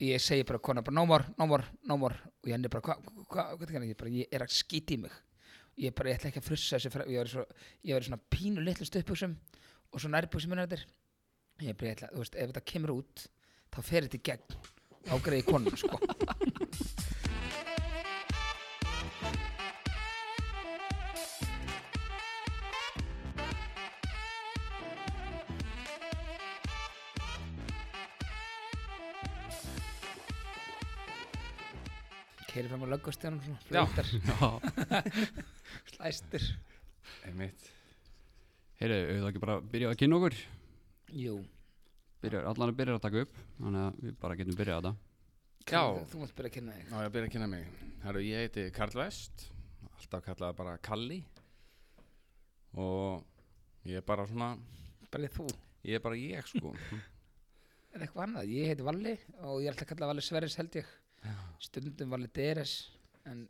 ég segi bara konar bara no more, no more, no more og henni bara, hvað, hvað, hva, hvað, hvað, ég bara ég er að skýti í mig ég bara, ég ætla ekki að frussa þessu frá, ég var í svo, ég var í svona pínu litlu stöpuksum og svo nærbuksum minna þetta ég bara, ég ætla, þú veist, ef þetta kemur út þá fer þetta í gegn ágreði konum, sko keiri fram á löggastjónum svona, Já. flautar, Já, slæstur einmitt Heyrðu, auðvitað ekki bara byrja að kynna okkur jú, byrjar, Allan er byrjar að taka upp Þannig að við bara getum byrjað þetta Karl, Já. þú- þú mátt byrja að kynna þig Já, ég byrja að kynna mig. Herru, ég heiti Karl Vest, alltaf kallað bara Kalli og ég er bara svona, bara þú, ég er bara ég sko. er eitthvað annað ég heiti Valli og ég er alltaf að kalla Valli Sverris held ég stundum Valli Deres en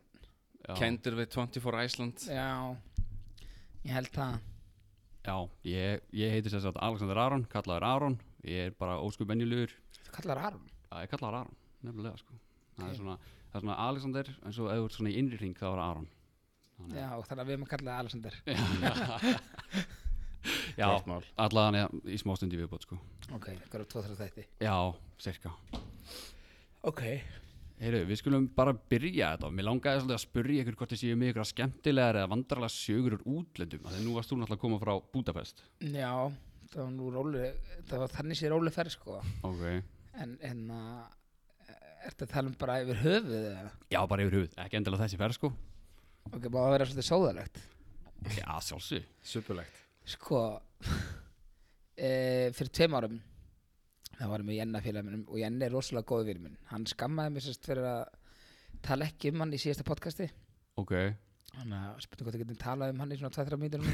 Já. Kendur við 24 Iceland. já ég held það Já, ég, ég heiti sér satt Alexander Aron, kallaður Aron Ég er bara óskup venjulegur þú kallar Aron Já, ég kallaður Aron, nefnilega sko Það Ok. er svona, það er svona Alexander En svo ef þú ert svona í innri hring þá er Aron Þannig já, að- þannig að við erum að kalla það Alexander Já, Klárt mál. allan ja, í smá stundi viðbót sko ok, hvað eru tvo þrjá þætti Já, cirka ok Heyru, við skulum bara byrja þetta Mér langaði svolítið að spyrja ykkur hvort þið séu með ykkur skemmtilegar eða vandrarlega sögur úr útlöndum Þegar nú varst þú náttúrulega að koma frá Budapest já, það var nú róli það var þannig sér róli ferð sko Ok en, en að ertu að tala um bara yfir höfuð eða? Já, bara yfir hufið, ekki endilega þessi ferð sko ok, má það vera svolítið sóðalegt Já, sjálfsög Supulegt. sko e, fyrir tveim árum það varum við Jenna félag minnum og Jenna er rosalega góð vinur minn hann skammaði mér sérst fyrir að tala ekki um hann í síðasta podcasti Ok, þannig að spurning hvort við getum talað um hann í svona 2-3 mítur en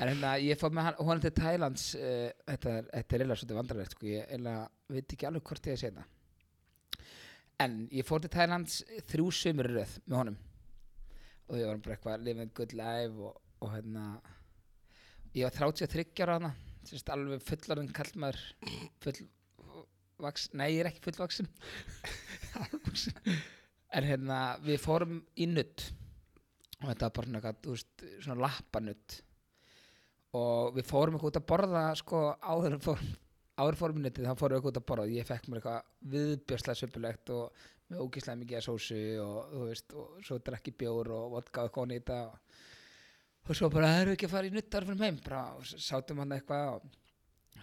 hérna ég fór með hann honum til Thailands uh, þetta, er- þetta er eiginlega svolítið vandrarlegt sko. ég eiginlega veit ekki alveg hvort ég að segja þetta en ég fór til Thailands þrjú sömur í röð með honum og ég var bara eitthvað living good life og, og hérna ég var 33 ára hana sérst alveg fullarinn kallmaður fullvaks, nei ég er ekki fullvaksin Hálfvaxinn. en hérna við fórum í nutt og þetta var bara svona, eitthvað, þú veist, svona lappanutt og við fórum eitthvað út að borða sko áður en fórum áður en fórum í nuttið þá fórum við eitthvað út að borða og ég fekk mér eitthvað viðbjörslega söpulegt og með ógislega mikið af sósu og þú veist og svo drekki bjór og vodka og eitthvað ofan í þetta og, og svo bara erum við ekki að fara í nutt áður fyrir heim bara og s- sátum hann eitthvað og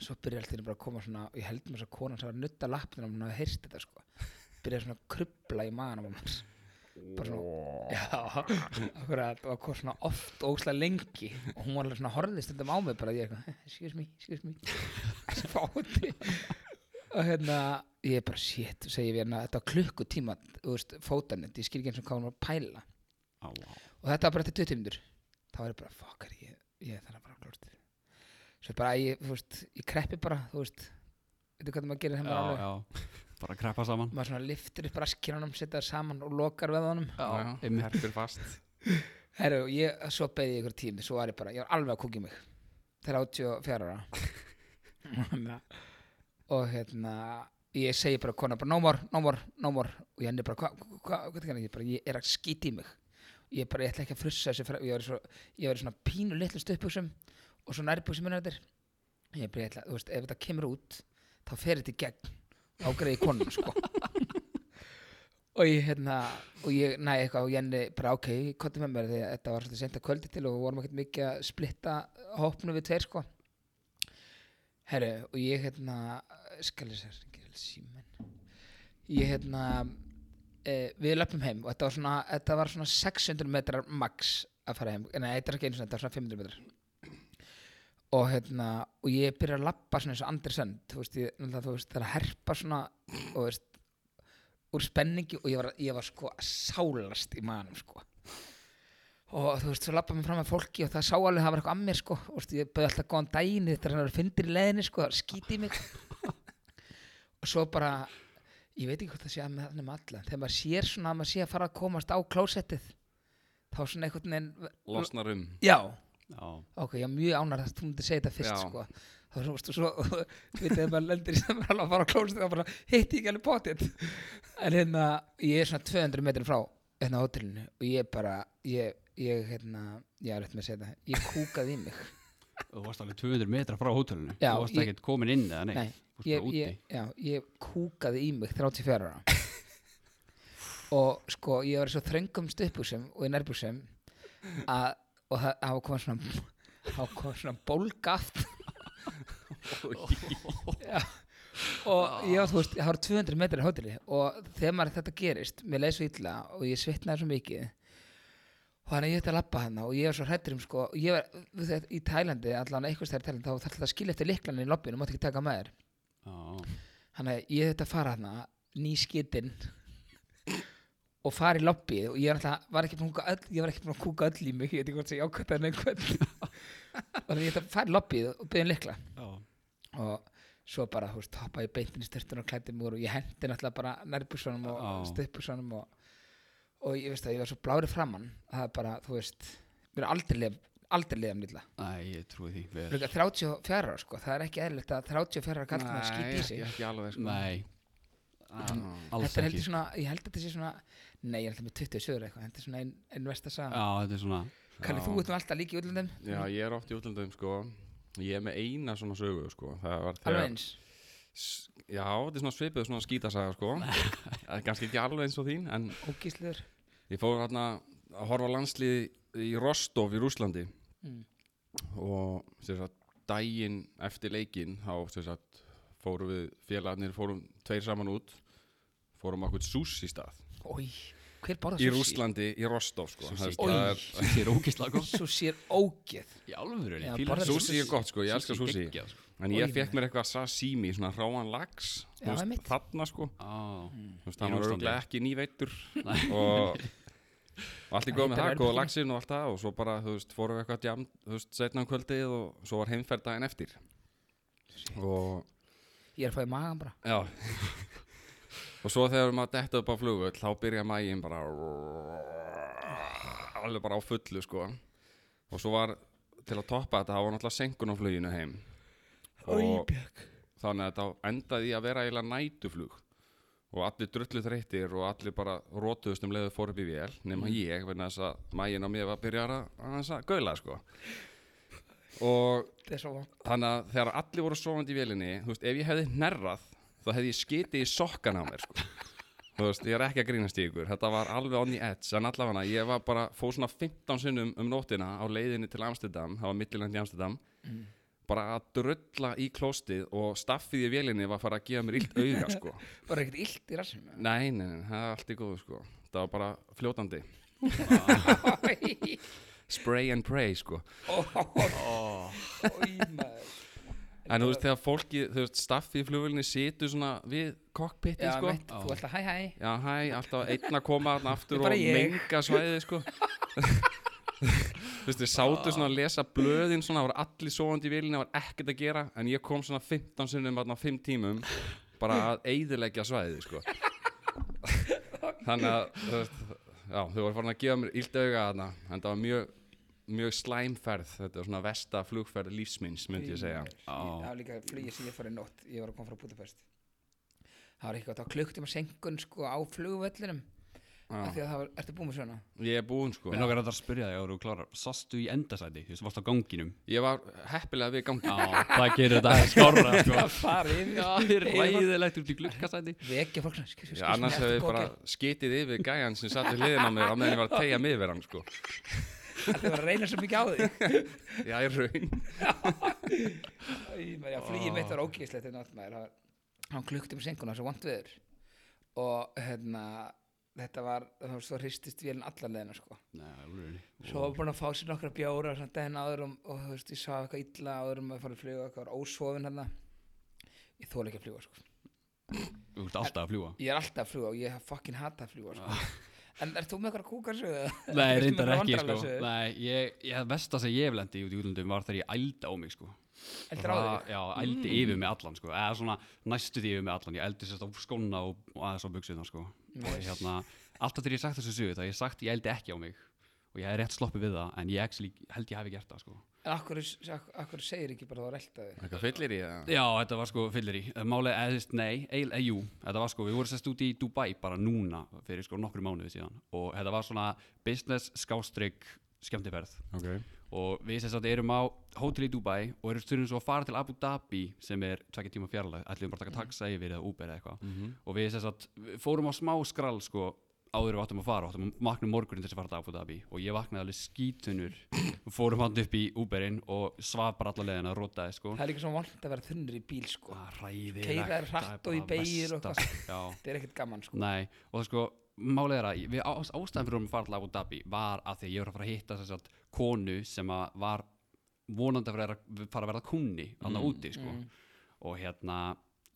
svo byrja alltaf bara að koma svona og ég held mér svo konan sem var að nutta lappnir og hún hafði heyrst þetta sko byrjaði svona að krubla í maðanum á mér bara svona Já, akkurat, og kom svona oft og óslega lengi og hún var alveg svona horfðið stundum á mig bara ég er eitthvað, excuse me, excuse me þessi fáti og hérna, ég er bara shit segi við hérna, þetta var klukkutíma þú veist, fótanett, ég skil ekki eins og hvað hún var að pæla á, á. og þetta var bara eftir 20 minnur þá var ég bara, fuck, er ég, ég þarf að bara klort svo bara, ég, þú veist, ég kreppi bara, þú veist veitu hvað maður gerir þegar Já, maður alveg já Bara að kreppa saman maður svona liftir upp raskirunum, setja það saman og lokar við honum Já, einmitt Herpir fast. Herru, ég, svo beði ég ykkur tími, svo var ég bara, ég var alveg að kúkja í mig. 34 ára. Þannig að- og hérna, ég segi bara konar, bara no more, no more, no more. Og henni bara, hvað, hvað, hvað, hvað, hvað, ég bara, ég er að skýti í mig. Ég bara, ég ætla ekki að frussa þessu frá, ég var í svo, ég var í svona pínu litlu stöpuksum og svo nærbuksum minna þetta. Ég bara, ég ætla, þú veist, ef þetta kemur út, þá fer þetta í gegn ágreði konum, sko. Og ég, hérna, og ég, næ, eitthvað, og Jenny bara, ok, kottu með mér því að þetta var svolítið sent að kvöldi til og við vorum ekkert mikið að splitta hópnum við tveir, sko. Herru, og ég, hérna, skal ég sér, ekki vel símen. Ég, hérna, e, við löpum heim og þetta var svona, þetta var svona 600 metrar max að fara heim. Nei, þetta er ekki eins og þetta var svona 500 metrar. Og, hérna, og ég byrja að lappa svona eins og Andri Sönd, þú veist, ég, náttúrulega, þú veist, það er að herpa svona, og þú veist, úr spenningi og ég var, ég var sko að sálast í manum sko og þú veist, svo lappa mér fram með fólki og það sá alveg að það var eitthvað að mér sko og þú veist, ég bauði alltaf góðan daginn þetta er hann að fyndir í leðinni sko, skíti mig og svo bara ég veit ekki hvort það sé að með þannig með alla en þegar maður sér svona að maður sé að fara að komast á klósettið þá svona einhvern veginn Losnar um. já, já, ok, ég er mjög ánægð að þú myndir segja þetta fyrst Já. sko. þá þú veist, og svo við þegar maður lendir sem er alveg að fara á klósið þá bara hitti ég ekki alveg potið en hérna, ég er svona 200 metrin frá hérna á hótelinu og ég bara ég, ég hérna, ég er rétt með að segja þetta ég kúkaði í mig þú varst alveg 200 metra frá hótelinu Já, þú varst ég- ekkert komin inn eða neitt Nei, Þú varst bara ég, úti. ég, já, ég kúkaði í mig 34 ára og sko ég var í svo þröngum stuðbúsum og í nærbuksum að, og það það var komið svona það komið svona bólga aftur Já, og ég var þú veist það var 200 metri í hóteli og þegar maður þetta gerist, mér leið svo illa og ég svitnaði svo mikið og þannig að ég ætti að labba hérna og ég var svo hrættur um sko, ég var, við þetta, í Tælandi allan eitthvað stærri Tælandi, þá þarf þetta að skilja eftir liklanin í lobbinu, mátt ekki taka með þér já, Þannig að ég þetta fara hana ný skitinn og fara í lobbyið og ég var, alltaf, var ekki búin að kúka öll, ég var ekki búin að kúka öll í mig ég veit ekki hvort sem ég ákvæmt að nefn hvern og þannig að ég þetta fara í lobbyið og byrja likla já, og svo bara, þú veist, hoppaði ég beintin í styrtun og klætti mig úr og ég hendi náttúrulega bara nærbússunum og Já. oh. stuðbússunum og, og ég veist að ég var svo blári framann að það er bara, þú veist, mér er aldrei lef, aldrei um lefum lilla, æ, ég trúi því vel. Líka 34 ára sko, það er ekki eðlilegt að 34 ára kallar maður Nei, skýti í sig ekki- ekki alveg sko Ah. nei, Al- alls Þetta er ekki heldur svona, ég held að þetta sé svona Nei, ég held að með 27 eða eitthvað Þetta er svona einn ein versta saga já, þetta er svona Kalli, Já. þú ert nú alltaf líka í útlöndum Já, ég er oft í útlöndum sko Ég er með eina svona sögu sko Það var Alveg eins S- Já, þetta er svona svipuð svona skítasaga sko Það er Kannski ekki alveg eins og þín En Ógísliður ég fór hérna að horfa á landslið í Rostov í Rúslandi Mm. og sem sagt daginn eftir leikin þá sem sagt fórum við félagarnir fórum tveir saman út fórum okkur sushi stað Ói, hver borða í sushi? Rúslandi í Rostov sko Sushi. Það er- Oj. það er- þetta er ógeðslega gott Sushi er ógeð í alvöru, Já, ég fíla borðar þetta. sushi. Sushi er gott, sko, ég elska sushi. geggjað, sko. en ég Oj, fekk mér eitthvað sashimi svona hráan lax þú Já, veist, einmitt. þarna sko Á, Þú veist, Í hann var Rússlandi. örgulega ekki nýveittur og og allt í Nei, góð með bara það, erfitt góða fyrir mig. laxinn og allt það og svo bara, þú veist, fórum við eitthvað djam, þú veist, setna um kvöldið og svo var heimferð daginn eftir og, Ég er að fá í magan bara já og svo þegar maður detta upp á flugvöld þá byrja maginn bara alveg bara á fullu, sko og svo var, til að toppa þetta, þá var náttúrulega senkun á fluginu heim og bjökk þannig að þetta endaði í að vera eiginlega nætuflug og allir drullu þreyttir og allir bara rótuðust um leiðu fór upp í vél nema ég, vegna þess að mægin á mér var að byrja að, aðeins að gaula sko. og Þetta er svo vant þannig að þegar allir voru sofandi í vélinni þú veist, ef ég hefði hnerrað þá hefði ég skitið í sokkan á mér sko. þú veist, ég er ekki að grínast í ykkur þetta var alveg on the edge, en allavega ég var bara, fóð svona 15 sinnum um nótina á leiðinni til Amsterdam, það var milliland í Amsterdam Mm. bara að drulla í klóstið og staffið í vélinni var að fara að gefa mér illt auga sko. Bara ekkert illt í rassinu nei, nei, nei, það er allt í góðu sko. það var bara fljótandi Ói, spray and pray sko. ói, maður en þú veist, þegar fólki, þú veist, staffið í flugvélinni situr svona við Já, cockpitið sko. mitt, þú ert að hæ hæ Já, hæ, alltaf einn að koma þarna Þetta er aftur og bara ég. menga svæðið, sko. Þú veist, við sátu svona að lesa blöðin svona, það voru allir sofandi í vilinu, það var ekkert að gera, en ég kom svona 15 sinnum þarna á 5 tímum, bara að eyðileggja svæðið, sko. Þannig að, þú veist, já, þau voru farin að gefa mér illt auga þarna, en það var mjög, mjög slæmferð, þetta var svona vesta flugferð lífsminns, myndi ég segja. Það var líka flugið sem ég fór í nótt Ég var að koma frá Budapest Það var eitthvað, það var klukktum að senkun sko á flugvellinum af Já. því að það var, ertu búin með svona? Ég er búinn, sko. Mér langar að það að spyrja þig, áður þú klarar, sastu í endasæti, þú veist, varst á ganginum. Ég var heppilega við gangi. Já, það gerir þetta aðeins skárra, sko. farið yfir Já, það er ræðilegt út í glukkasæti. vekja fólk svona, skil- skil- Já, annars ertu hefði bókin? bara skitið yfir gæjan sem satt við hliðin á mér á meðan ég var að tegja mig yfir hann sko. Þetta var að reyna svo mikið á þig Já, ég raun. Æ, maður, Já, flýið mitt var ógeðslegt í nótt, maður. Það var- Hann klukkti með senguna, svo vant viður Og hérna Þetta var, það var svo hristist vélinn allar leðina sko. Nei, alveg. Svo var búin að fá sér nokkra bjóra Svona den áður um, og þú veist, ég sá eitthvað illa Áður um að fara að fluga, eitthvað var ósofin hérna Ég þóla ekki að fluga sko. Þú ert alltaf að fljúa. Ég er alltaf að fluga og ég fucking hata að fluga sko. En ert þú með eitthvað kúkarsöðu? Nei, reyndar ekki, sko. Heldur Nei, ég, ég vest að segja ég lendi út í útlöndum var þegar ég ældi á mig, sko. á Það- þig? Já, ældi yfir með allan, sko. Eða svona næstu því yfir með allan. Ég ældi sérst á skóna og, og aðeins á buksuna, sko. Og Nice. hérna, alltaf þegar ég hef sagt þessu sögu, það hef ég sagt ég ældi ekki á mig. og ég hef rétt sloppið við það en ég actually, held ég hafi gert það sko. En akkur, akkur, akkur segir ekki bara það reltaði Eitthvað fyllir í það Já, þetta var sko fyllir í Málega eðist, nei, eil, eða jú Þetta var sko, við vorum sérst út í Dubai bara núna fyrir sko nokkru mánuði síðan og þetta var svona business skástrygg skemmtiferð okay. og við sérst að erum á hótel í Dubai og erum styrjum svo að fara til Abu Dhabi sem er tvekja tíma fjarlæg ætlum bara að taka taxa yfir eða Uber eða eitthvað Mhm. og við sérst að fórum á smá skrall sko áður en við áttum að fara, áttum að vakna morgunin til þess að fara til Abu Dhabi og ég vaknaði alveg skítunur fórum hann upp í Uberinn og svaf bara alla leiðina, rótaði sko Það er líka svona vond að vera þunnur í bíl sko Það er ræðilegt Keyra er hratt og í beygir og eitthvað Þetta er ekkert gaman sko Nei, og það sko, málið er að ég- við ás- ástæðan fyrir um að fara til Abu Dhabi var að því að ég var að fara að hitta þess að konu sem að var vonandi að fara að, fara að verða kunni hann úti, sko og hérna,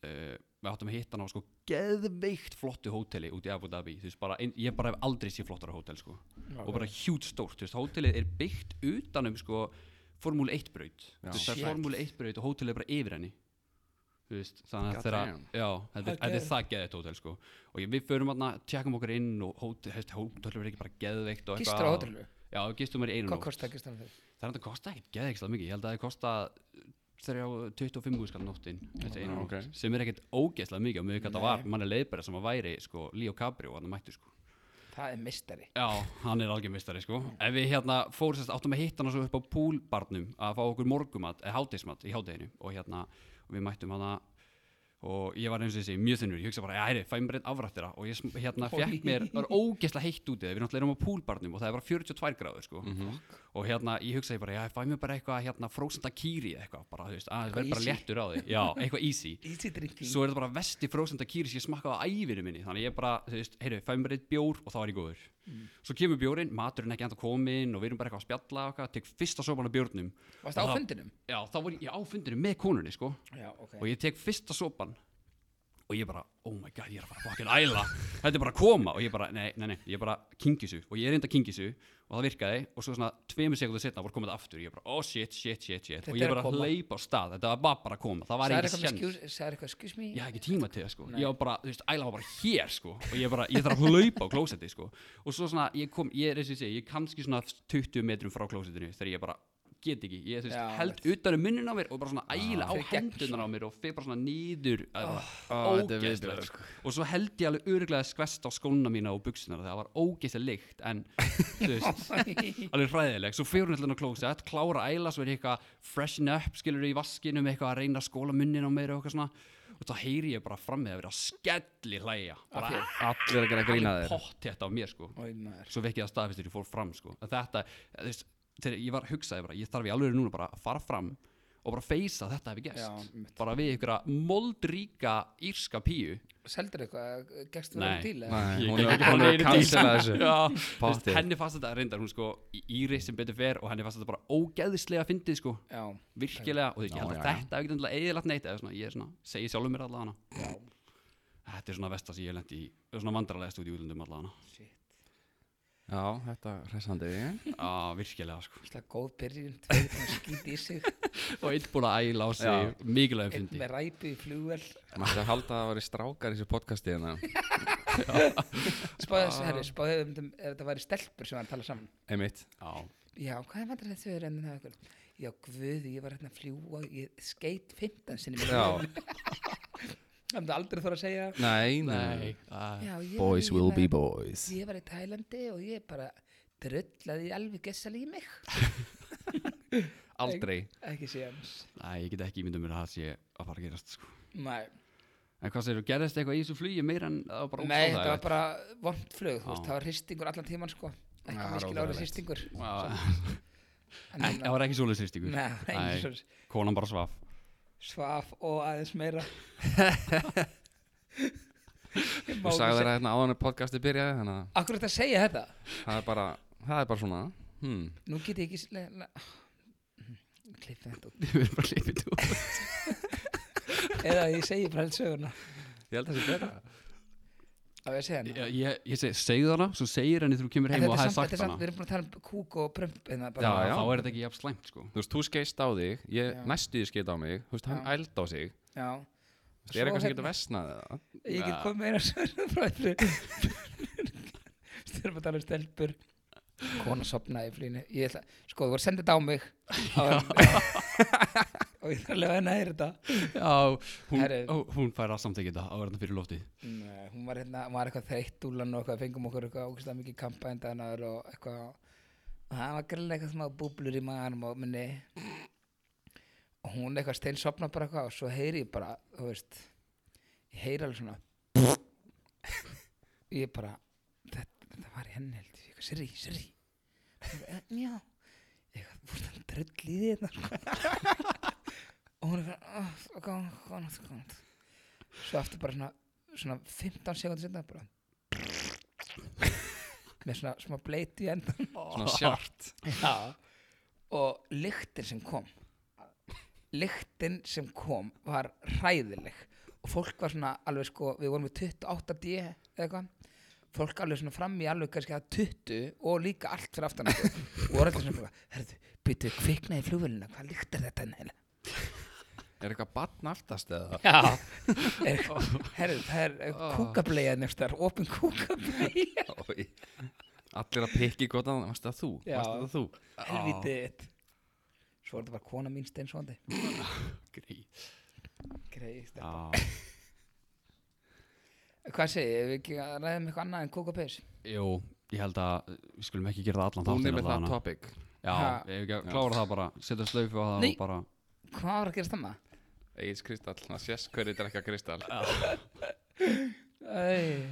uh, við áttum að hitta hann á sko geðveikt flottu hóteli út í Abu Dhabi, þú veist bara, ein, ég bara hef aldrei sé flottara hótel, sko og bara hjút stórt, þú veist, hótelið er byggt utanum sko Formúlu 1 braut Já. þú veist, það Shit. er Formúlu 1 braut og hótelið er bara yfir henni þú veist, þannig God að þeirra damn. já, þetta er- Það er þetta er geðveikt. það geðið hótel sko og ég- við förum aðna, tjekkum okkur inn og hótelið, þú veist, hótelið er ekki bara geðveikt og Gistur á hótelinu já, við gistum er í einu Hvað nótt kostar gistur á hótelinu? það er þetta kosta ekkert geðveikt það mikið, ég held að það kosta 25 skall nóttin þessi einu Ok. nótt, sem er ekkert ógeðslega mikið og mjög hvað það Nei. var, manni leiðbæra sem að væri sko, Leo Cabrio, hann mættu sko Það er mistari Já, hann er algjör mistari sko En við hérna fórum sérst áttum að hitta hann svo upp á púlbarnum að fá okkur morgumat, eða hátismat í hátteginu og hérna, og við mættum hana og ég var eins og þessi mjög þunnur, ég hugsa bara, æri, fæ mér einn afrættira og ég sm- hérna fekk mér, það var ógeðslega heitt úti við náttúrulega erum á púlbarnum og það er bara 42 gráður sko og hérna, ég hugsaði bara, já, fæ mér bara eitthvað hérna frósenda kýri eða eitthvað, bara, þú veist, að það verður bara easy. léttur á því, já, eitthvað easy Easy drinking svo er þetta bara vesti frósenda kýri sem ég smakkaði á ævinu minni þannig að ég bara, þú veist, heyrðu, fæ mér eitt bjór og þá er ég góður Mm. svo kemur bjórinn, maturinn ekki enda komin og við erum bara eitthvað að spjalla og eitthvað, tek fyrsta sopan af bjórnum Varst á fundinum? já, þá var ég á fundinu með konunni, sko Já, ok og ég tek fyrsta sopan og ég bara, oh my god, ég er að fara að fucking æla þetta er bara að koma og ég bara, nei, nei, nei ég bara kingisu og ég er reynda kingisu og það virkaði og svo svona tveimur sekundur setna voru komið aftur ég bara, oh shit, shit, shit, shit Þetta og ég er að bara koma. hleypa á stað, þetta var bara að koma það var Sæður eitthvað, ekki með sjens excuse- sagðirðu eitthvað excuse me ég hafði ekki tíma til það sko Nei. ég var bara, þú veist, æla var bara hér sko og ég bara, ég þarf að hlaupa á klósetti sko og svo svona, ég kom, ég er eins og ég segi ég er kannski svona 20 metrum frá klósettinu þegar ég bara get ekki, ég þú veist, Já, held utan um munnin á mér og bara svona Ah, æla á Fyrir gegn, hendunar á mér og fyrir bara svona nýður Ó, þetta er viðbjóður, ógeðslega sko. sko. og svo held ég alveg örglega skvest á skóna mína og buksunar það var ógeðslega lykt en þú veist, alveg hræðileg, svo fyrir hún allan á klósett klára að æla, svo er ég eitthvað freshen up skilur í vaskinu með eitthvað að reyna að skóla munnin á meira og eitthvað svona og þá heyri ég bara fram með að vera að skelli hlæja bara þér? Allir að gera grína alveg þér pott þetta á mér sko Oj, maður. svo vekk ég að staðfistur ég fór fram sko En þetta, þú veist, þegar ég var hugsaði bara ég þarf í alveg núna bara að fara fram og bara feysa að þetta hefði gerst Já, einmitt. bara við ykkur að moldríka írska píu Seldirðu eitthvað, gegst það Nei. til eða? Nei, Ég hún gekk er ekki hún bara er að neinu cancela dýr. þessu Já, þú veist, Pottið. henni fannst þetta reyndar hún sko í íri sem betur fer og henni fannst þetta bara ógeðislega fyndið sko Já, virkilega og þú veist, ég Já, held að já, já. þetta hafi ekki endilega eðilagt neitt eða svona, ég er svona, segi sjálfum mér allavega já, þetta er svona vesta sem ég hef lent í svona vandralegast út í útlöndum allavega shit Já, þetta er hressandi Já, virkilega sko Það er góð byrjun, tveir búin að skýta í sig og einn búin að æla á Já. sig mikilvægum Einn fyndi með ræpu í flugvel Mætti að halda að það væri strákar í þessu podcasti hérna Spáðu Ah. þessu, herri, spáðu ef þetta- ef þetta væri stelpur sem var að tala saman Einmitt Já, Já, hvað er vandrarlega þau eru enn það ykkur? Já, guð, ég var hérna að fljúa, ég skeit 15 sinni mér. Já. Það myndi aldrei þóra að segja. Nei, nei nei að- Já, ég, Boys ég will var, be boys Ég var í Tælandi og ég bara drullaði alveg gessal í mig. Aldrei Ekki séans. Nei, ég get ekki ímyndað mér að það sé að fara að gerast sko Nei, En hvað segir þú, gerðist eitthvað í þessu flugi meira en það var bara Nei þetta var óþægilegt? bara vond flug, þú veist, Já. það var hristingur allan tíman, sko. Ekki Já, mikil rólegulegt. árið hristingur. Já, ekki- Það var ekki svoleiðis Nei, hristingur það var Nei. engin svo Konan bara svaf svaf og aðeins meira. Ég má Þú ekki sagði segja- þér hérna áðan að podcasti byrjaði Þannig að Akkur er þetta að segja þetta? það er bara, það er bara svona hmm. Nú get ég ekki s- le- le- klippa þetta út Við erum bara hlipið út Eða ég segi bara alls söguna Ég held að það sé betra Á ég að segja hana Ég, ég, ég seg, segðu hana, svo segir henni þegar þú kemur En heim þetta og er hafði samt, þetta sagt er samt, við hana erum búin að tala um kúk og prömp hérna, Já, bara, Já, já. þá er þetta ekki jafn slæmt sko Þú veist, þú skeist á þig, ég Já. næstu því skeið á mig Þú veist, hann Já. ældi á sig Þú já. Svo veist, er eitthvað sem hérna- getur vesnað eða? Ég get Já. komið meira svörðu frá þessu Þú erum að tala um stelpur kona sopnaði í flýinu ég ætla, sko þú voru sendið þetta á mig áður en- og ég þarf að lefa henni að heyra þetta Já, hún, Herri. ó, hún fær að samþykja þetta að verða fyrir loftið Nei, hún var hérna, hún var eitthvað þreytt úlan og eitthvað, fengum okkur eitthvað ógæslega mikið kampaðin daganaður og eitthvað og það var greiðlega eitthvað smá búblur í maðanum og minni og hún eitthvað stein sopna bara eitthvað og svo heyri ég bara, þú veist ég heyri alveg svona ég bara þetta, þetta var í henni held ég, eitthvað sirri, sirri já eitthvað, þú veist hann drull í því þetta sko. og hún er eitthvað "Ah, ok, góðan, góðan, góðan svo aftur bara svona, svona 15 sekundir sinna bara með svona smá bleiti í endan Svona Ah, sjart Já. og lyktin sem kom lyktin sem kom var hræðileg og fólk var svona alveg sko við vorum við 28D eða eitthvað fólk alveg svona fram í alveg kannski að 20 og líka allt fyrir aftan okkur. og voru allir svona bara, herðu, býtu kviknaði í flugvölinu, hvað lyktar þetta hérna?" neina Er eitthvað barn aftast eða? Já er, Herru, það er kúkableiða nefnstar Opin kúkableiða Oj. Allir að pikki gott að það, varst það þú? Já. Varst það þú? Helvítið Svo er þetta bara kona mín steinsvandi Grý Greið Já, Hvað segir, ef við ekki að ræðum eitthvað annað en kúkabeis jú, ég held að við skulum ekki gera það allan Hún þáttinn er með það allavega. topic Já, Ha. ef ekki að klára það bara setja slaufu á það Nei. og bara Hvað var að gera stanna? Egil's kristall, það sést hverju drekka kristall Æ,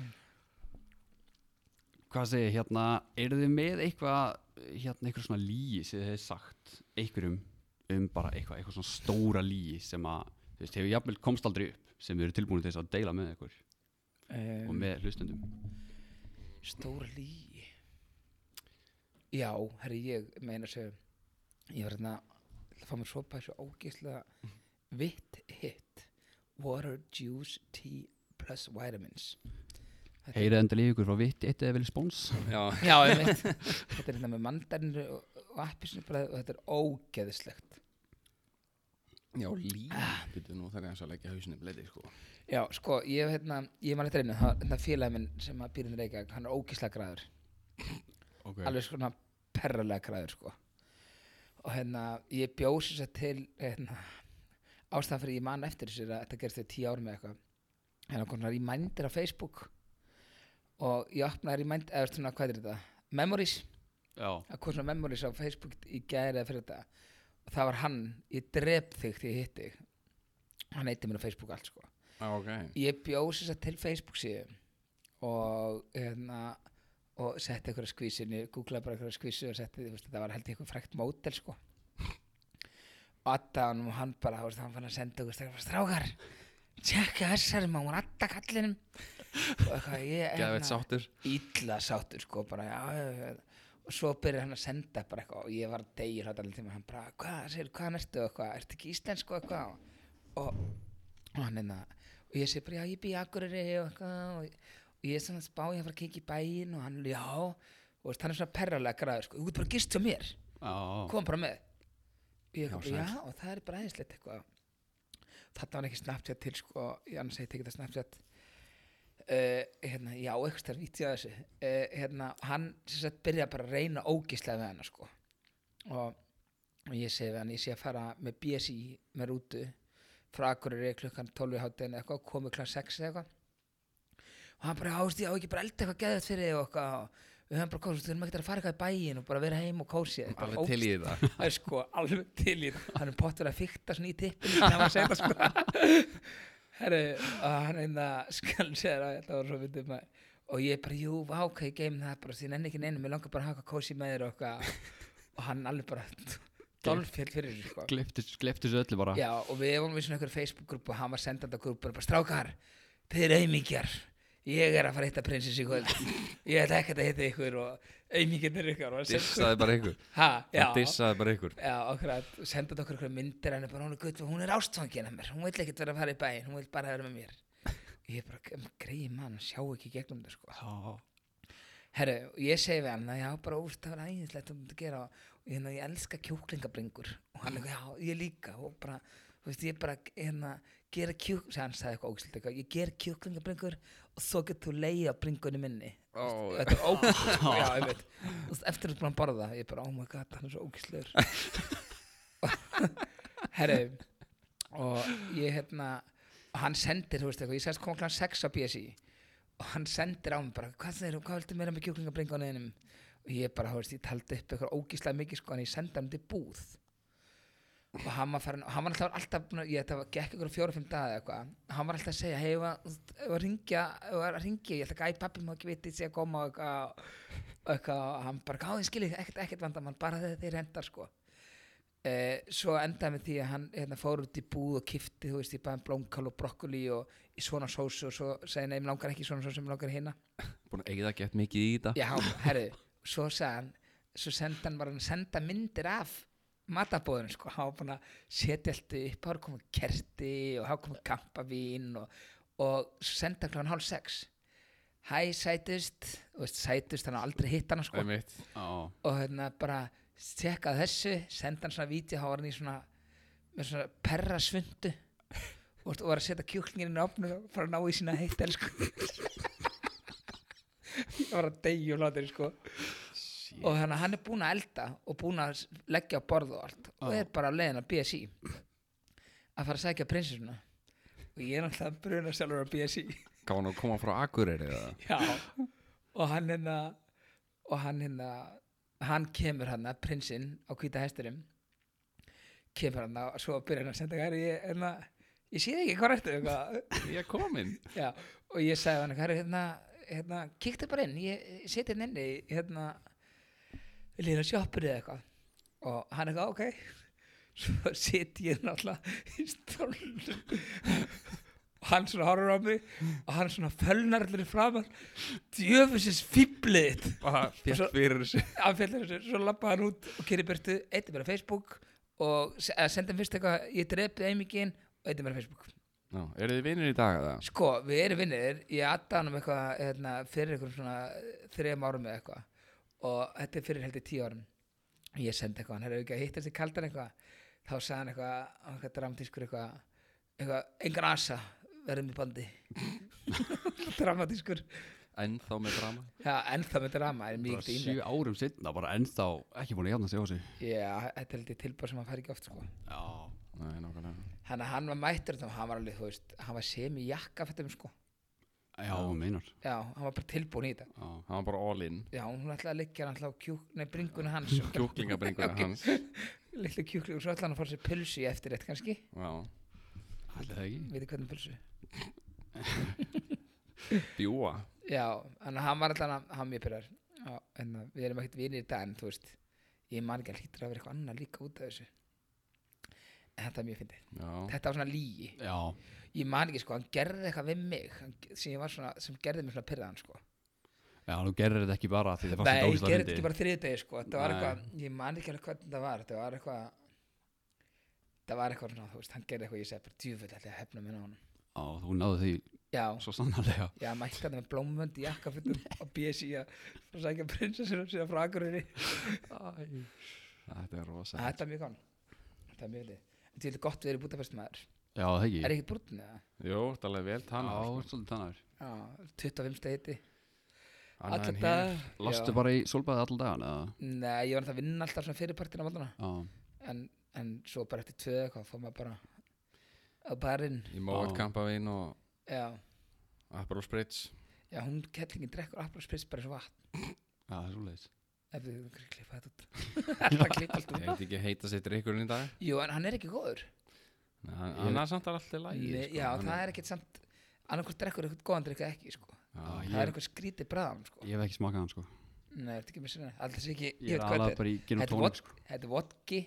Hvað segir, hérna, eru þið með eitthvað, hérna, eitthvað svona líi sem þið hefði sagt einhverjum um bara eitthvað, eitthvað svona stóra líi sem að, þú veist, hefur jafnvel komst aldrei upp sem þið eru tilbúin til þess að deila með ykkur og um, með hlustendum Stóra lí Já, herri, ég meina sem Ég var hérna Það fá mér sopa þessu ógeðslega Vitt hit Water, juice, tea plus vitamins Heyrið endilega í ykkur frá vitt, eitt eða vel spóns Já, Já, ég veit Þetta er hérna með mandarinu og, og appisinu bara, og þetta er ógeðislegt já líf Býtu nú þegar ég að leggja hausinu bleiti sko Já, sko, ég hef hérna, ég man þetta reynu þetta hérna félagi minn sem að býrðin reykja hann er ógeðslega græður, okay. alveg svona perralega græður, sko og hérna, ég bjósi þess að til hérna, ástæðan fyrir ég man eftir þessu er að þetta gerst þegar tíu árum eða eitthvað hérna kom svona remændir á Facebook og ég opnaði remænd eða svona, hvað er þetta? Memories Já, að hvað svona memories á Facebook í gæri eða fyrir þetta og það var hann, ég drep þig því ég hitt þig hann eitti mér á Facebook allt sko Já, ok ég bjóð þess að til Facebook síðan og hérna og setti einhverja skvísinu, googlaði bara einhverja skvísu og setti, þú veist, þetta var held ég eitthvað frækt mótel sko og Addan og hann bara, þú veist, hann fann að senda okkur strákar, strákar, tjekka þessari má hún Adda kallinum og eitthvað, ég hérna, Geðveitt sáttur illa sáttur sko bara já, já, já. og svo byrjar hann að senda bara eitthvað og ég var degir hátt allir tíma hann bara hvað, segir, hvað ertu og eitthvað, ertu ekki íslensku og eitthvað og, og hann einna og ég segi bara já, ég bý í Akureyri og eitthvað og, og ég er svona að spá ég að fara að kikið í bæinn og hann já og veist, hann er svona perralega græður sko, þú ert bara að gist hjá mér já, kom bara með ég, já, Já, sæll. já, og það er bara aðeinslegt eitthvað þetta var ekki Snapchat til sko, ég annars heiti ekki það Snapchat uh, hérna, já, eitthvað stær vítið að þessu uh, hérna, og hann sem sagt byrja bara að reyna ógislega við hana sko og, og ég segi við hann, ég sé að fara með BSI með rútu frá Akureyri klukkan 12 í hátæðinu eitthvað, komið klukkan 6 eða eitthvað og hann bara, ást ég á ekki bara elda eitthvað geðvægt fyrir þig og eitthvað og við höfum bara kósið, við höfum ekki að fara eitthvað í bæin og bara vera heim og kósið Alveg til í það það er sko alveg til í það hann er pottur að fykta svona í tippinu þegar hann segir það sko herru, og hann einna skal segja það, þetta var svo myndið maður og ég bara, jú, vá, ok, ég geim það bara því nenni ekki neinu, mér langar bara að haka kósi með þér og eitthvað og hann alveg bara dolfjöld fyrir þessu sko gleptu þessu öllu bara Já, og við vorum í svona einhver Facebook-grúpu og hann var sendandi á grúpu bara strákar, þið eru aumingjar ég er að fara að hitta prinsins í kvöld ég ætla ekkert að hitta ykkur og aumingjarnir ykkar og hann sendi- Dissaði bara ykkur Ha, já. Hann dissaði bara ykkur Já, okkur að senda okkur okkur myndir henni bara, hún er gutt, hún er ástfangin af mér hún vil ekkert vera að fara í bæinn, hún vil bara vera með mér ég er bara, greið mann sjá ekki í gegnum þetta sko Já. herru, og ég segi við hann að já, bara úrst, það var æðislegt um þetta að gera og ég, hérna, ég elska kjúklingabringur og hann er, já, ég líka og bara, þú veist, ég bara, hérna, gera kjúk, sem hann sagði eitthvað ógæslega eitthvað, ég gera kjúklingabringur og svo getur þú leiða bringunni minni. Ó, Þú veist, þetta er ógæslega, já, ég veit. Þú veist, eftir þú ert búin að borða það, ég bara, oh my god, hann er svo ógæslegur. Herri, og ég, hérna, og hann sendir, þú veist, eitthvað, ég sagðist koma klan 6 á BSI og hann sendir á mig bara, hvað þeir, hvað viltu meira með kjúklingabringu á neðinum? Og ég bara, þú veist, ég taldi upp eitthvað ógíslega mikið, sko, en ég sendi hann til búð og hann var farin, hann var alltaf alltaf, búinn að- ég þetta var- gekk ykkur fjóra-fimm daga eða eitthvað, hann var alltaf að segja, hei, ef að- ef að ringja, ef að ringja, ég ætla ekki, æ, pappi má ekki viti, sé að koma og eitthvað, og eitthvað, og hann bara, gáði, skiljið, ekkert, ekkert vandamann, bara þegar þeir hendar, sko. Eh, svo endaði með því að hann hérna, fór út í búð og kifti, þú veist, ég baði blómkál og brokkoli og í svona sósu og svo segi, nei, mér langar ekki í svona sósu, mér langar í hina. búin að eigða gett mikið í þetta Já, herri, svo sagði hann svo sendi hann bara að senda myndir af matabóðinu sko, hann var búin að setja allt upp, hann komið kerti og hann komið kampavín og, og svo sendi hann kláðan hálf sex hæ sætust þú veist, sætust, hann hafði aldrei hitt hann sko, Einmitt. Ó, og hérna bara tjekka þessu, senda hann svona víti hann var hann í svona, með svona perra svundu og veist, og var að setja kjúklingin inn í opnum og fara að ná í sína heitt elsku ég var að deyja og láta sko shit. og þannig að hann er búinn að elda og búinn að s- leggja á borð og allt og Já. er bara á leiðin að BSI að fara að sækja prinsessuna og ég er náttúrulega bruna sjálfur á BSI Gáði hann að koma frá Akureyri eða? Já. og hann hérna og hann hérna hann kemur hann að prinsinn á hvita hestinum kemur hann að svo byrja hann að senda hér ég, hérna, ég sé þig ekki hvað rættu eitthvað Ég er komin Já, og ég sagði hann, hvað er hérna, hérna, kíktu bara inn, ég ég sit hérna inni, hérna, lýra sjoppur eða eitthvað. Og hann eitthvað, ok, svo sit ég náttúrulega í stólnum og hann svona horfur á mig og hann svona fölnar allir framar, djöfusins fýblið þitt Bara Svo- fjall fyrir þessu hann fjallar þessu, svo lappa hann út og keri burtu, eitt er bara Facebook og se- eða sendi hann fyrst eitthvað, ég drepið einmikinn og eitt er bara Facebook. Ná, eru þið vinir í dag eða? Sko, við erum vinnir, ég adda hann um eitthvað hérna, fyrir einhverjum svona eh, þrem árum eða eitthvað og þetta er fyrir heldur tíu árum ég sendi eitthvað, hann hefur ekki að hitta þessi kaldan eitthvað þá sagði hann eitthvað, hann var eitthvað dramatískur eitthvað, eitthvað, engan asa verðum í bandi dramatískur Ennþá með drama Já, ennþá með drama, er Bara mikið í sjö árum setna, bara ennþá ekki búin að jafna sig á þessu. Já, þetta er heldur tilbúr sem hann fær ekki oft sko. Já, Nei, nákvæmlega Þannig að hann var mættur þá, hann var alveg, þú veist, hann var sem í jakka fættum sko. já, hún meinar. Já, hann var bara tilbúin í þetta Já, Hann var bara all in Já, hún ætlaði að liggja hann alltaf á kjúk, nei, bringunni hans Kjúklingabringur Ok. hans Lillu kjúklingur, svo ætlaði hann að fara sér pulsu í eftirrétt kannski Já ætli það ekki. Veitir hvernig pulsu Bjúa Já, en hann var alltaf, hann var mjög pyrrar En að við erum ekkert vinir í dag, en þú veist Ég man ekki að hlýtur að vera eitthvað annað líka út af þessu En þetta er mjög fyndið Já Þetta var svona lígi Já, Ég man ekki, sko, hann gerði eitthvað við mig hann, sem, ég var svona, sem gerði mig svona pyrraðan, sko já, þú gerir þetta ekki bara því þið fannst Nei, þetta ég gerði ógislega þetta ekki fyndi. bara þriðdegi sko Þetta var Nei. eitthvað, ég man ekki alveg hvernig þetta var Þetta var eitthvað Þetta var eitthvað, svona, þú veist, hann gerði eitthvað Ég segi bara djúfull allir að hefna minna á honum Já, þú náðu því Já, svo sannarlega. já, mætti hann með blómvönd í jakkafutum og BSI að að sækja prinsessur síðan frá Akureyri Þetta er rosa Þetta er mjög gaman Þetta er mjög lið En þetta er gott við erum búin að fyrst maður Já, það Er ekki. ekki brútin eða? Jó, þetta er alveg vel Já, tannar sko. svolítið tannar. Já, 25 steiti Annað en Alla hitt. dag Lastu já. bara í solbæði allan dagan, eða? Nei, ég var náttúrulega að vinna alltaf svona fyrirpartin á mótana Já, en, en svo bara eftir tvö eða eitthvað fór maður bara á barinn Í mót Já. kampavín og Já Aperol Spritz Já, hún kettlingin drekkur applausprits bara eins og vatn já, það er svolítið. Ef við þú kannski klippa þetta út Alltaf klippa allt Ég út veit ekki heita sér drikkurinn í dag Jú, en hann er ekki góður Nei, hann- Hann er samt alltaf lægi Nei, sko, Já, það er ekkert samt annarkvort drekkur eitthvað góðan drikka ekki sko. Já, Það er ég- eitthvað skrítið bræðan sko. Ég hef ekki smakað hann, sko. Nei, þetta er ekki með sinna Alltaf ekki, Ég ég er veit hvað þetta aðalega er bara í gin og Þetta er tónik, vodk- sko. Þetta er vodki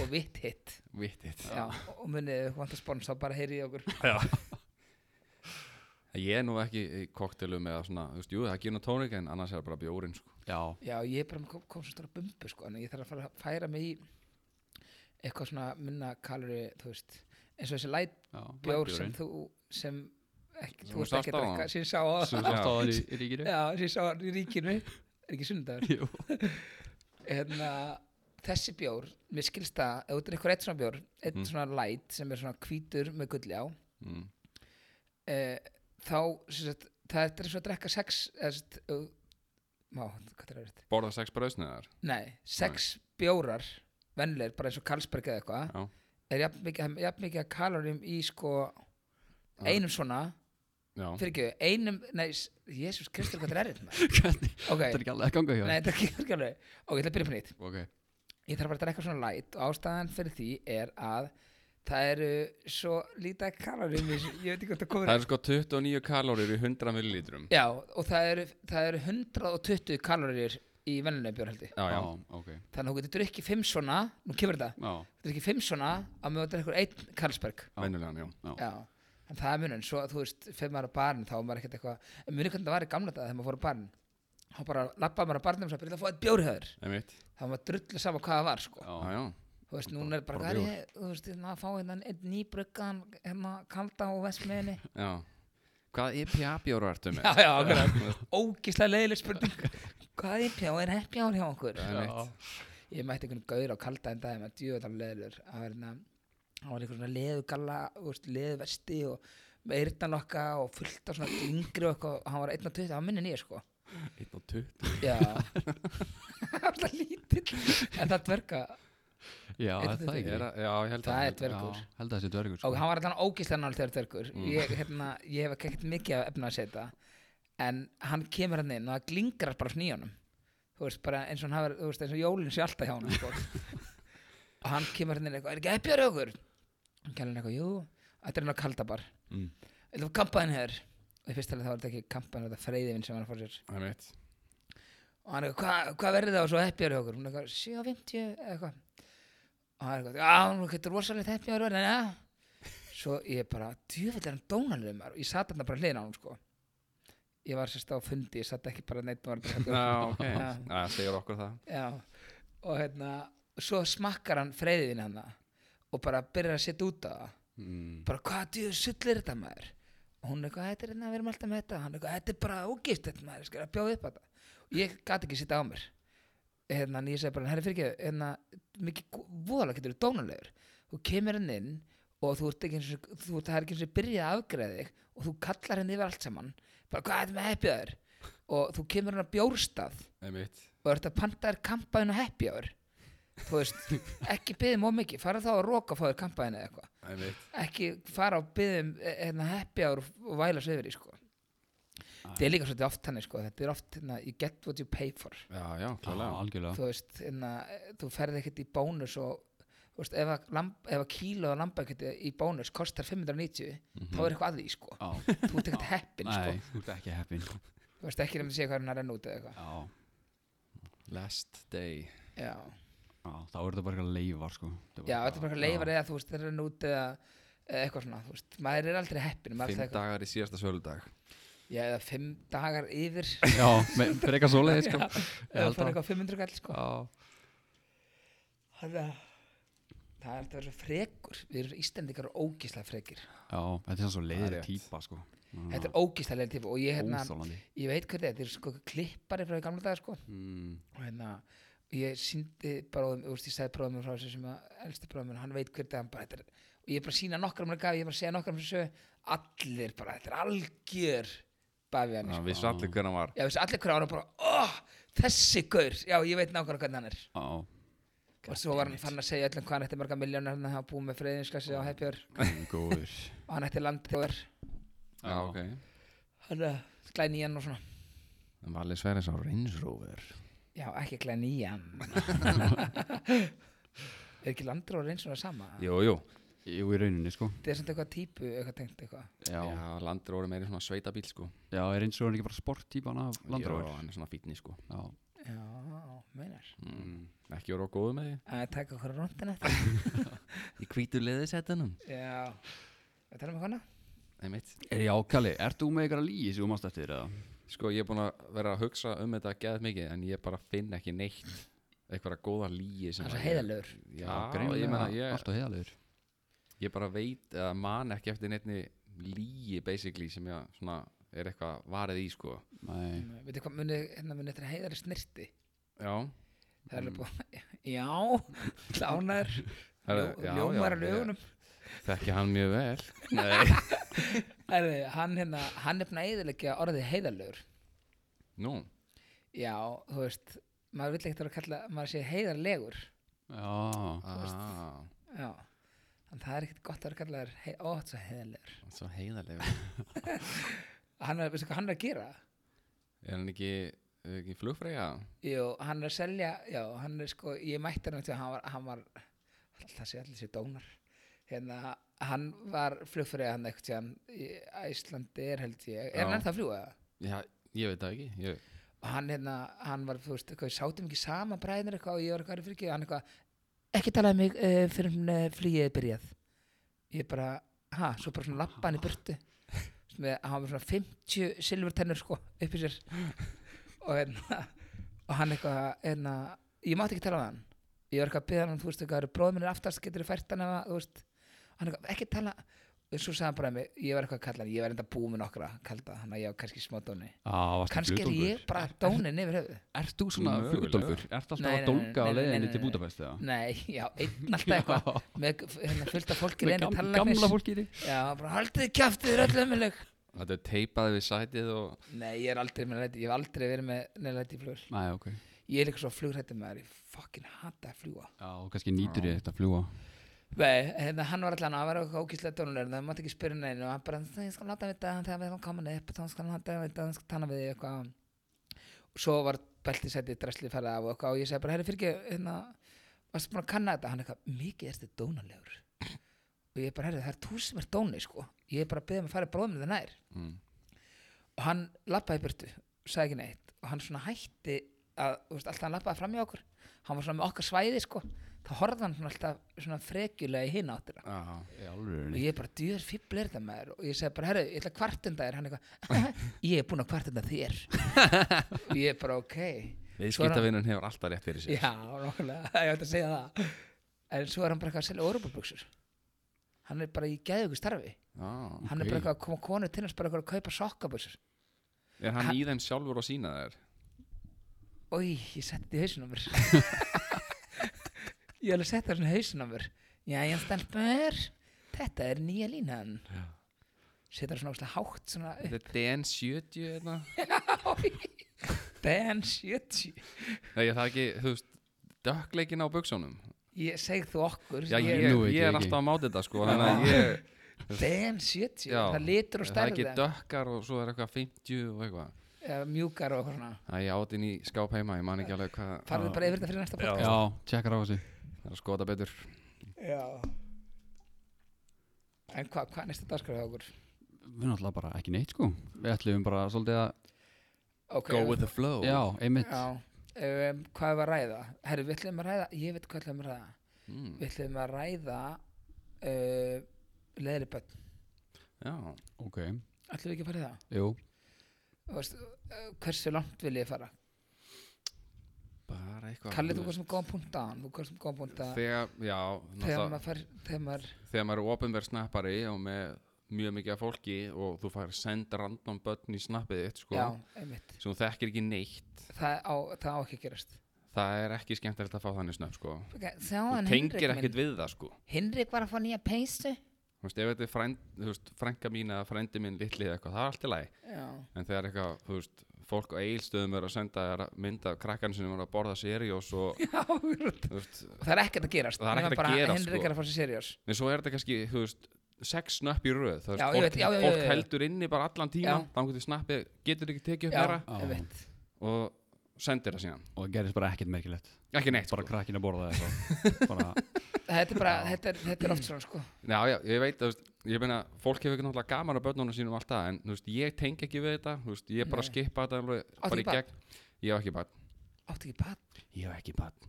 og vitt hitt Vittit Já, og- og munið ef ykkur vantar spons þá bara heyrið í okkur Ég er nú ekki í koktelum eða svona Þú veist, jú, það er gin og tónik en annars er það bara bjórin sko. Já, Já, ég er bara kom, kom svo stóra bumbu sko, en ég þarf að fara að færa mig í eitthvað svona minna kalori, þú veist eins og þessi light já. bjór Bjórinn. sem þú sem ekki, Sem þú þú veist ekki að sást á drekka hann. sem ég sá á sem sást á Já. það í, í ríkinu já, sem ég sá hann í ríkinu er ekki sunnudagur Jú. hérna, þessi bjór, mér skilst það ef þú drikkur eitt svona bjór, eitt Mm. svona light sem er svona hvítur með gulli á Mm. e, þá sem sagt, það þetta er svo að drekka sex eða, sem sagt, ef þú- má, hvað er það verið? Borða sex bröðsniðar Nei, sex bjórar venleir, bara eins og Karlsberg eða eitthvað Já. er jafn mikið, jafn mikið að kalorum í sko einum svona, Já, fyrir ekki einum, nei, jésús Kristur hvað það er þetta maður? Hvernig- ok, Þetta er ekki alveg að ganga hjá nei, þér. þetta er ekki- þetta er ekki alveg ok, ég ætla að byrja upp á nýtt Ok, ég þarf bara að drekka svona light og ástæðan fyrir því er að það eru svo lítið kaloríum í þessu, ég veit ekki hvað það komur það eru sko 29 kalórir í 100 millilítrum já, og það eru, það eru 120 kaloríur í venlunum bjórhaldi Já, já, já, ok þannig að þú getur drukkið 5 svona nú kemur þetta, Já, þú drukkið 5 svona að með að drekka einn Karlsberg venjulegan, já já, en það er munun svo að þú veist, fyrir maður á barinn þá er maður ekkert eitthvað en munið hvernig það var í gamla þetta þegar maður fór á barinn þá bara lappaði maður á barnum og svo byrjaði að fá eitt bjórhöður Einmitt, þá var maður drullu saman hvað það var sko. já, já, já þú veist, núna er bara, hvað bara er ég, þú veist, hérna að fá hérna einn nýbruggan, hérna kalda á vestmiðinni. Já Hvað E IPA bjóru ertu með? já, já, okkur, ógíslega leiðileg spurning. Hvað er pjá, er heppjár hjá okkur? Einmitt Ég mætti einhvern gaur á kalda en daginn, að djúðan leiðilegur, að hérna, hann var einhver svona leðugalla, þú veist, leðuvesti og með eyrnalokka og fullt af svona yngri og eitthvað, og hann var 1.20, hann var minni nýja, sko. 1 og 20 Já. Alltaf lítill, en það dverga, já Eitt og er það tuttugu. ekki Er að- Já, ég held það að er dvergur. Já, held að það sé dvergur sko. og hann var alltaf ógíslega nátt þegar dvergur ég, hérna, ég hef ekki ekkert mikið af efna að setja en hann kemur hann inn og það glingrar bara sníjónum þú veist, bara eins og hann hafa, þú veist, eins og jólin sé alltaf hjá hann sko. og hann kemur hann inn eitthvað, er ekki eppjar okkur hann kemur hann eitthvað, jú, þetta er hann á kaldabar Mm. þetta var kampaðin hér og í fyrsta leið þá var þetta ekki kampaðin þetta freyðivinn sem hann fór sér Einmitt og hann eitthvað, "Hva- hvað verður það og svo heppjar okkur hún eitthvað, 7.50 eða eitthvað og hann eitthvað, já, hún getur rosalegt heppjar en ja svo ég bara, djöfell er hann dónalegu maður og ég sat hann bara hliðin á hann sko ég var sérst á fundi, ég sat ekki bara neitt og var bara hérna. Já, ok Já. Það segir okkur það Já, og hérna svo smakkar hann freyðin hann og bara byrjar að setja út á það Mm. bara hvað djöðu sull er þetta maður og hún er eitthvað, þetta er hérna, við erum alltaf með þetta hann er eitthvað, þetta er bara ógift þetta maður, skil að bjóða upp á þetta og ég gat ekki sitta á mér hérna, en ég segi bara, herri fyrir ekki hérna, mikið voðalega getur þú dónulegur þú kemur hann inn og þú ert ekki eins og, þú, það er ekki eins og byrjað að afgreða þig og þú kallar henni yfir allt saman bara hvað er þetta með happy hour og þú kemur hann að bjórstað Einmitt og ert að panta þér kampaðin og happy hour þú veist, ekki byggðum of mikið fara þá að roka og fá þér kampaðin eða eitthvað Einmitt ekki fara á byðum hérna, happy hour og væla svo yfir í sko. þetta er líka svolítið oft þannig sko. þetta er oft, hérna, you get what you pay for Já, já, Já, klálega algjörlega þú veist, hérna, þú ferð ekkert í bónus og þú veist, ef, að lamb, ef að kíla og lamba ekkert í bónus kostar 590, Mhm. Hmm. þá er eitthvað að því sko. Já, þú ert ekkert heppin sko. nei, þú ert ekki heppin þú veist ekki nefnir að sé hvað er hann að renna út eða eitthvað Já, Last day já, já þá er þetta bara eitthvað leifar sko já þetta er bara eitthvað leifar eða þú veist, það er renna út eða eða eitthvað svona, þú veist, maður er aldrei heppin maður er Fimm alltaf eitthvað, dagar í síðasta söludag já, eða fimm dagar yfir Já, með- fyrir eitthvað svoleiði sko eða held fara að- eitthvað á 500 gall sko. Já, Það er það er alltaf að vera svo frekur Við erum Íslendingar og ógíslega frekir já, þetta er svo Það leiðir er rétt. típa sko Þetta er ógíslega leiðin típa og ég, hérna, Óþólandi ég veit hvernig þetta er sko klippari frá í gamla daga sko. mm. og hérna ég síndi bróðum, úrst, ég sagði bróðum frá þessu sem að elsti bróðum, hann veit hvernig hann bara þetta er, og ég er bara að sína nokkrum hann gaf, ég er bara að segja nokkrum þessu allir bara, þetta er algjör bafið hann, Það sko. vissu allir hvernig hann var já, þessi allir hverju ára bara, oh, þessi gaur já, ég veit nákvæmlega hvernig hann er Já, og svo var hann fann að segja öllum hvað hann eftir marga miljónar hann hafa búið með freyðinsklassi á hefjör guð góður og hann eftir landþjóðar Já, ok hann er glæð nýjan og svona En Valli Sverris á Range Rover já, ekki glæð nýjan er ekki landróður eins og það sama Jú, jú Jú, í rauninni sko það er samt eitthvað típu, eitthvað tengt eitthvað Já, já, Já, Landróður er meiri svona sveitabíl sko er eins og hann ekki bara sporttípan af Já, landróður hann er svona fítni sko Já, já, meinar mm. Ekki voru á góðu með að taka okkur á rondin eftir því Í hvítu leðisettunum já, við tala um hana Einmitt er ég ákali, ert þú með eitthvað líi sem þú mást eftir eða? Sko, ég er búin að vera að hugsa um þetta að geða mikið En ég bara finn ekki neitt Eitthvað góða líi sem það er svo að ég- heiðalegur Já, greinilega, ég meina ég, Alltaf heiðalegur ég bara veit eða man ekki eftir neittni líi basically sem ég svona er eitthvað varið í sko Nei, veitu hvað, munið hérna munið þetta er heiðaleg snirti Já, það er alveg búið, Já, klánar Herra, já, já, Ljómar að ég- lögunum Þekki hann mjög vel Nei Herri, hann, hérna, hann er búin að eðilegja orðið heiðarlegur Nú Já, þú veist maður vill ekkert vera að kalla, maður sé heiðarlegur Já, ah, Já, en það er ekkert gott að vera að kalla þér hei, ó, þetta er heiðarlegur Svo heiðarlega Hann er, veistu hvað hann er að gera? Er hann ekki, er ekki flugfreyja? Jú, hann er að selja, já, hann er sko ég mætti hann eftir, hann var, hann var alltaf sé allir sér dónar hérna, hann var flugfrið hann eitthvað tíðan í Íslandi er held ég, er hann Já. ennþá að fljúga það? Já, ég veit það ekki ég... og hann hérna, hann var, þú veist, eitthvað, við sátum ekki saman bræðinir eitthvað og ég var eitthvað fyrir ekki, hann eitthvað, ekki talaði mig uh, fyrir uh, flýið er byrjað. Ég bara, ha, svo bara svona lappa hann í burtu, svona, hann var með svona 50 silfurtennur, sko, upp í sér og hérna, og hann eitthvað, hérna, ég mátti ekki tala við hann, ég var eitthvað að byggja hann, þú veist, eitthvað, bróðum minn er aftast, getur fært hann eða, þú veist, hann eitthvað, ekki tala, svo sagði hann bara við mig, ég var eitthvað að kalla hann, ég var enda búið með nokkra, kalda, hann að ég var kannski smá dóni á, varstu kannski er flugdólgur? ég bara dónin yfir höfuð Ert þú svona Mögulega. flugdólfur? Ert alltaf Nei, að nei, dólga á nei, nei, leiðinni nei, til nei. Budapest eða? nei, já, einn alltaf eitthvað með hérna, fullt af fólki Með reyni gam- tallanis gamla fólkið já, bara haldið þið kjaftið, þið er öll ömuleg Þetta er teipað við sætið og nei, ég er aldrei með læti, ég hef aldrei verið með neðlæti í flugur, Næ, ok ég er líka svo flugrætti með þær ég fucking hata að fljúa Já, og kannski nýtur ég þetta að fljúa nei, hérna, hann var allan að vera eitthvað ókíslega dónulegur það mátti ekki spyrja neinu og hann bara, "Nei, ég skal láta hann vita þegar við hann komin upp þá skal hann láta hann vita, hann skal tala við þig eitthvað og svo var beltisætið drasli færið af og eitthvað og ég segi bara, herri fyrir hérna, varstu búin að kanna þetta hann eitthvað, mikið er þetta dónalegur og ég bara, herri, það er þú sem er dóni sko. ég er bara að beða mig að fara bróðum það nær mm. og hann lappaði í burtu, sagði ekki neitt og hann svona hætti að, þú veist, alltaf hann lappaði fram í okkur hann var svona með okkar svæði sko þá horfði hann svona alltaf svona frekjulega í hinn áttina ah. Í og alvörunni ég bara, djur, fíbl er þetta maður og ég segi bara, herru, ég ætla að kvartunda þér hann eitthvað, ég er búin að kvartunda þér og ég bara, ok Viðskiptavinnun hefur alltaf rétt fyrir sér Já, nokkulega, ég ætti að segja það En svo er hann bara eitthvað að selja orðbúrbuksur Hann er bara í geðugu starfi ah. Hann er Ok. bara eitthvað að koma konu til hans bara eitthvað að kaupa sokkabuksur Er hann í þeim sjálfur og sína þær? Ói, ég setti í hausin á mér Ég alveg setti það svona í hausin á mér Jæja, stelpur Þetta er nýja línan Setur það svona óslega hátt svona upp Þetta er DN70 hérna Ben 70 Nei, það er ekki, þú veist, dökkleikin á buksónum Ég segi þú okkur Já, ég, Nú veit ég ég er ekki. alltaf að máta þetta sko Þannig að ég, Ben 70 já Það litur og Það er stærði ekki dökkar og svo er eitthvað 50 og eitthvað Mjúkar og eitthvað svona Það er átinn í skáp heima, ég man ekki alveg hvað Farðu bara yfir þetta fyrir næsta podcast Já, tjekkar á þessu Það er að skoða betur Já En hvað hva næsta dagskrif hjá okkur? Við náttúrulega bara ekki neitt sko Við ætlum bara svolítið að Okay, the flow Já, einmitt Já Um, hvað var að ræða? Herru, við ætlum að ræða Ég veit hvað ætlum að ræða mm, Við ætlum að ræða uh, Leðri börn Já, Ok, Ætlum við ekki að fara í það? jú Þú Veist, uh, hversu langt vil ég fara? bara eitthvað Kallið þú hvað sem góðan punkt á hann Þú hvað sem góðan punkt að Þegar, já, Þegar náttúrulega maður fær Þegar maður Þegar maður er ofinverð snappari og með mjög mikið af fólki og þú fær send random börn í snappið þitt sko Já, einmitt sem þú þekkir ekki neitt Það á, það á ekki að gerast það er ekki skemmtilegt að fá þannig snöpp sko okay, Þá þú hann tengir Hinrik ekkert minn við það sko Hinrik var að fá nýja peysu þú veist, ef þetta er frænd, þú veist, frænka mín eða frændi mín litli eða eitthvað, það er allt í lagi Já en þegar eitthvað, þú veist, fólk á eigilstöðum eru að senda þér mynd af krakkan sem eru að borða seriós og, Já, þú veist, Og það er ekkert að gerast Það er nema ekkert að bara gerast, Henrik sko. er að fara sér seriós en svo er þetta kannski, þú veist sex snöpp í röð, þú veist, Já, ég fólk, veit, já, já, já, fólk já, já. heldur inni bara allan tíma, Já. þannig að snappi getur ekki tekið upp Já, meira ég veit og sendir það síðan, Og það gerist bara ekkert merkilegt ekki neitt Bara sko. krakkin að borða þetta Bara, Þetta er bara, þetta er, þetta er oft svona sko já, já, ég veit, þú veist, ég meina fólk hefur ekki náttúrulega gaman á börnunum sínum alltaf en, þú veist, ég tengi ekki við þetta, þú veist, ég bara Nei. skipa þetta alveg, Áttu bara ekki í gegn ég á ekki barn, Áttu ekki bat ég hef ekki bann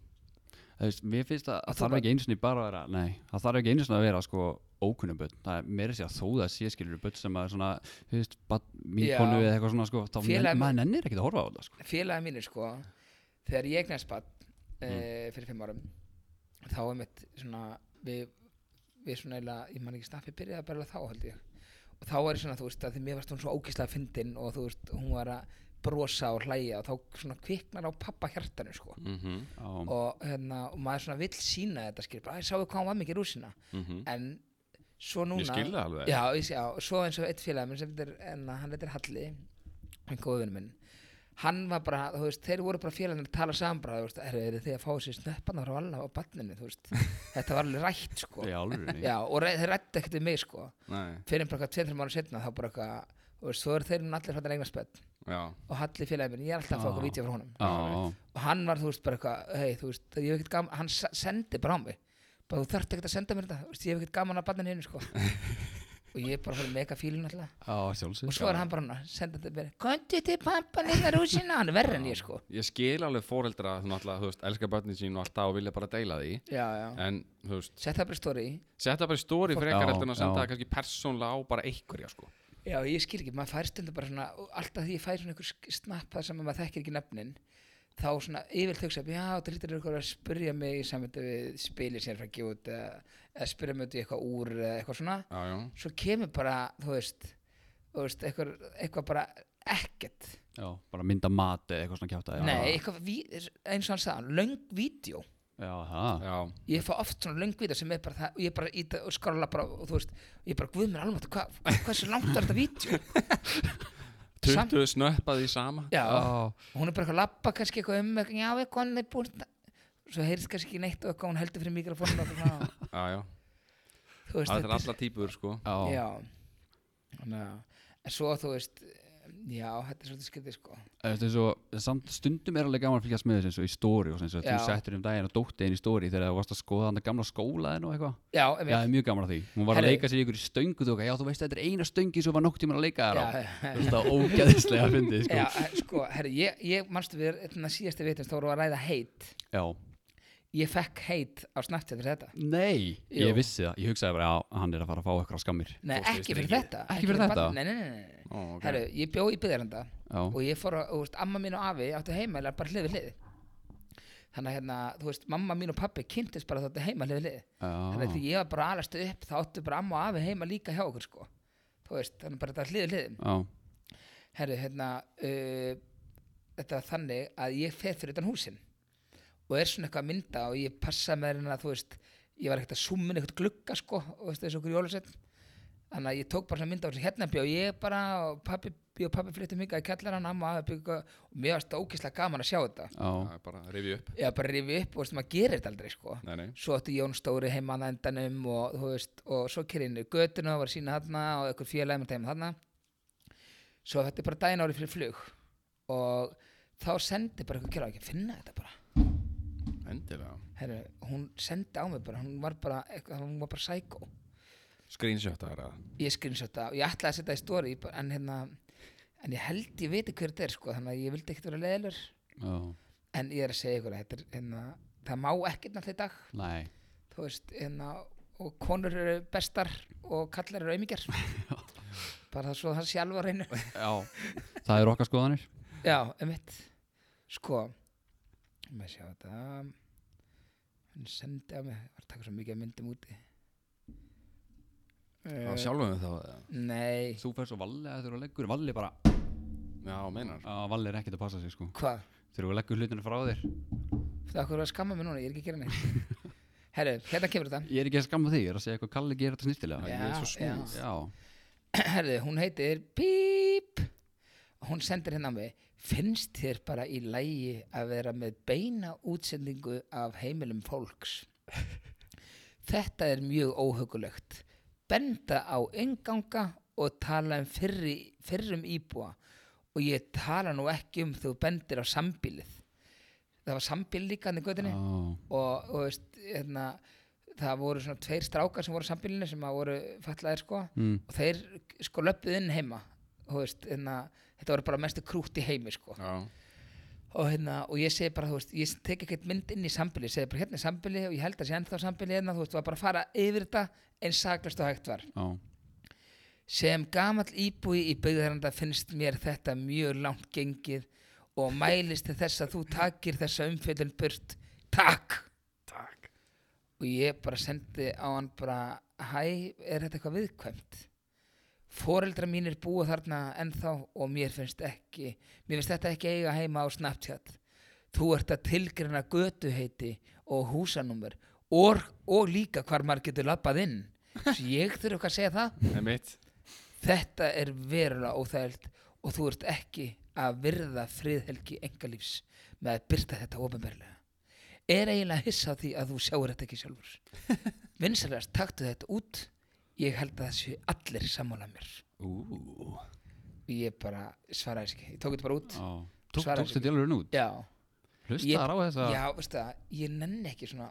Það veist, mér finnst að Átt það þú þarf ekki einu sinni bara að vera Nei, það þarf ekki einu sinni að vera sko ókunnum börn Það er meira sér að þó það sé skilur börn sem að svona, þú veist, barn mín Já. konu eða eitthvað svona sko Þá Félag- nenn- maður nennir ekkert að horfa á það sko Félagi mínir sko Þegar ég eignast bat e, Fyrir fimm árum Þá er mitt svona Við, við svona eila Ég man ekki snappi byrjaði bara þá held ég Og þá er svona þú veist að því mér varst hún svo ókislega fyndin Og þú veist hún var að brosa og hlæja og þá svona kviknar á pappa hjartanu sko Mhm, Já, og, hérna, og maður svona vill sína þetta skil bara, ég sáu hvað hún var mikið rúsina mhm. en svo núna Ég skil það alveg. já, ég, já, svo eins og eitt félag minn sem er, en hann heitir Halli hann góðvinn minn hann var bara, þú veist, þeir voru bara félagin að tala saman bara, þú veist, er þið þið að fá sér snöppan frá alla á barninu, þú veist þetta var alveg rætt, sko í alvöru já, og rey, þeir rættu ekkert við mig, sko Nei, fyrir bara eitthvað 2-3 mánu setna, þá bara eitthvað þú veist, þú eru þeir um allir fættan eignarspett já, og Halli félagin minn, ég er alltaf að fá Ah. eitthvað vídeo frá honum Já, og hann var þú veist bara eitthvað hei þú veist ég hef ekkert gaman hann se- sendi bara á mig bara þú þarft ekkert að senda mér þetta þú veist ég hef ekkert gaman að bannin hinn sko og ég er bara fyrir mega fílin alltaf já, sjálfsög og svo er hann bara hann að senda þetta mér kondi til pappan ykkar rúsina hann er verri en ég sko ég skil alveg fóreldra þú náttúrulega, þú veist, elska börnin sín og alltaf og vilja bara deila því já já en, þú veist, sett það bara í story setja bara í stóri frekar Já, heldur en að senda já. það kannski persónlega á bara einhverja, sko já ég skil ekki maður fær stundu bara svona og alltaf því ég fær svona einhver snapp það sem að maður þekkir ekki nöfnin þá svona yfirlt hugsa já það lítur eitthvað að spyrja mig í samvæntu við spilir sem er frá gjút eða eða spyrja mig út í eitthvað úr eða eitthvað svona Já, já, svo kemur bara, þú veist, þú veist eitthvað, eitthvað bara ekkert Já, bara mynda mat eða eitthvað svona kjáta nei, eitthvað, ví- eins og hann sagði hann löng vídeo, Já, það já, ég fá oft svona löng vídeo sem er bara það, og ég bara íta og skrolla bara og þú veist, ég bara guð mér alveg hva, hversu langt er þetta vídeo Samt- 20 snöppaði í sama já, Já, hún er bara eitthvað að labba kannski eitthvað um eitthvað, já, eitthvað hann er búin svo heyrðist kannski ekki neitt og eitthvað hún heldur fyrir mikrofónu og eitthvað svona, Já, já, þú veist, það er alla típur, sko já, já, þannig að en svo þú veist, já, þetta er svolítið skytið sko, þetta er svo samt stundum er alveg gaman að fylgjast með þessu eins og í stóri og svona eins og þú Já. settur um daginn og dótti einn í stóri þegar þú varst að skoða hann gamla skóla og eitthvað já, Já, emitt það er mjög gaman að því Hún var að Herri. leika sér í ykkur stöngu þú eitthvað, Já, þú veist, þetta er eina stöngi sem var nokk tíma að leika þér á já, já. Þú veist, það er ógæðislega að fyndi sko. Já, eh, sko, herri, ég, ég manstu við þannig að síðasti vitum þá voru að ræða heit Já, ég fekk heit á Snapchat fyrir þetta nei Jú. Ég vissi það, ég hugsaði bara að hann er að fara að fá eitthvað á skammir Nei, Fórstu í ekki fyrir strengið? þetta Ekki fyrir þetta? barn- Nei, nei, nei, nei. Ó, ok. Herru, ég bjó í byggðaranda og Já, ég fór að, þú veist, amma mín og afi áttu heima eða bara hlið við hlið Þannig að, hérna, þú veist, mamma mín og pappi kynntist bara þáttu heima hlið við hlið Þannig að já, því ég var bara alastu upp þá áttu bara amma og afi heima líka hjá okkur, sko Þú veist, þannig bara þetta hlið við hlið já, herru, hérna uh, þetta var þannig að ég feð fyrir utan húsin og er svona eitthvað að mynda og ég passa með hérna, þú veist ég var ekkert að súmmin eitthvað glugga sko og veist þessu okkur jólusett þannig að ég tók bara svona mynda á þessu hérna bjó ég bara og pappi, bjó pappi flyttum hingað í kjallarann amma og afi byggu og mér varst það ógeðslega gaman að sjá þetta já Það er bara að rifja upp ég var bara að rifi upp og veist maður gerir þetta aldrei sko Nei, nei, svo átti Jón Stóri heima að endanum og þú veist, og svo kyrinu götuna og var sína þarna og einhver félagi með þeim þarna svo þetta er bara daginn ári fyrir flug og þá sendi bara eitthvað kjara ekki að finna þetta bara endilega Heru, hún sendi á mig bara, hún var bara eitthvað, hún var bara sækó Screenshot að það ég skrinsjóta og ég ætlaði að setja það í stóri bara, en hérna, en ég held ég viti hver þetta er sko, þannig að ég vildi ekkert vera leðilur Já, en ég er að segja ykkur að þetta er hérna, það má ekkert náttúrulega í dag nei þú veist, hérna og konur eru bestar og kallar eru aumingjar bara svo það sé alveg á reynu Já, það eru okkar skoðanir já, um mitt sko, maður sjá þetta hann sendi á mig ég var að taka svo mikið af myndum úti Já, uh, sjálfum við þá eða? nei, Þú færst og Valli að þurfa að leggur Valli bara, Já, meinar að Valli er ekkert að passa sig sko hvað Þurfa að leggur hlutinu frá þér það okkur var að skamma mig núna, ég er ekki að gera neitt herru, hérna kemur þetta Ég er ekki að skamma þig, ég er að segja eitthvað Kalli gerir þetta snýstilega Já, ég er já. smooth. Já, herru, hún heitir Píp hún sendir hérna á mig finnst þér bara í lægi að vera með beina útsendingu af heimilum fólks þetta er mjög óhugulegt benda á enganga og tala um fyrri, fyrrum íbúa og ég tala nú ekki um þú bendir á sambílið það var sambíl líka hann í göttinni já. og, og veist, hérna, það voru svona tveir strákar sem voru á sambílinu sem að voru fallaðir sko Mm. og þeir sko löppuð inn heima þú veist, hérna, þetta voru bara mestu krútt í heimi sko. Já, og, hérna, og ég segi bara, þú veist, ég tek ekkert mynd inn í sambili, segi bara hérna er sambili og ég held að sé ennþá sambili hérna, þú veist, var bara að fara yfir þetta eins saklast og hægt var já, sem gamall íbúi í byggðaranda finnst mér þetta mjög langt gengið og mælist til þess að þú takir þessa umfjöldun burt takk takk og ég bara sendi á hann bara hæ, er þetta eitthvað viðkvæmt foreldra mínir búa þarna ennþá og mér finnst ekki mér finnst þetta ekki eiga heima á Snapchat þú ert að tilgrina götuheiti og húsanúmer og, og líka hvar maður getur labbað inn Svo ég þurfi eitthvað að segja það Einmitt. þetta er verulega óþægild og þú ert ekki að virða friðhelgi engalífs með að byrta þetta ofinberlega. Er eiginlega hissa á því að þú sjáur þetta ekki sjálfur. Vinsalast, taktu þetta út. Ég held að það séu allir sammála mér. Ú, Ég bara svaraði þessu ekki. Ég tók þetta bara út. á. Tók, Svaraði tókstu délurinn út? Já, Hlustaðar á þessa? já, veistu það, ég nenni ekki svona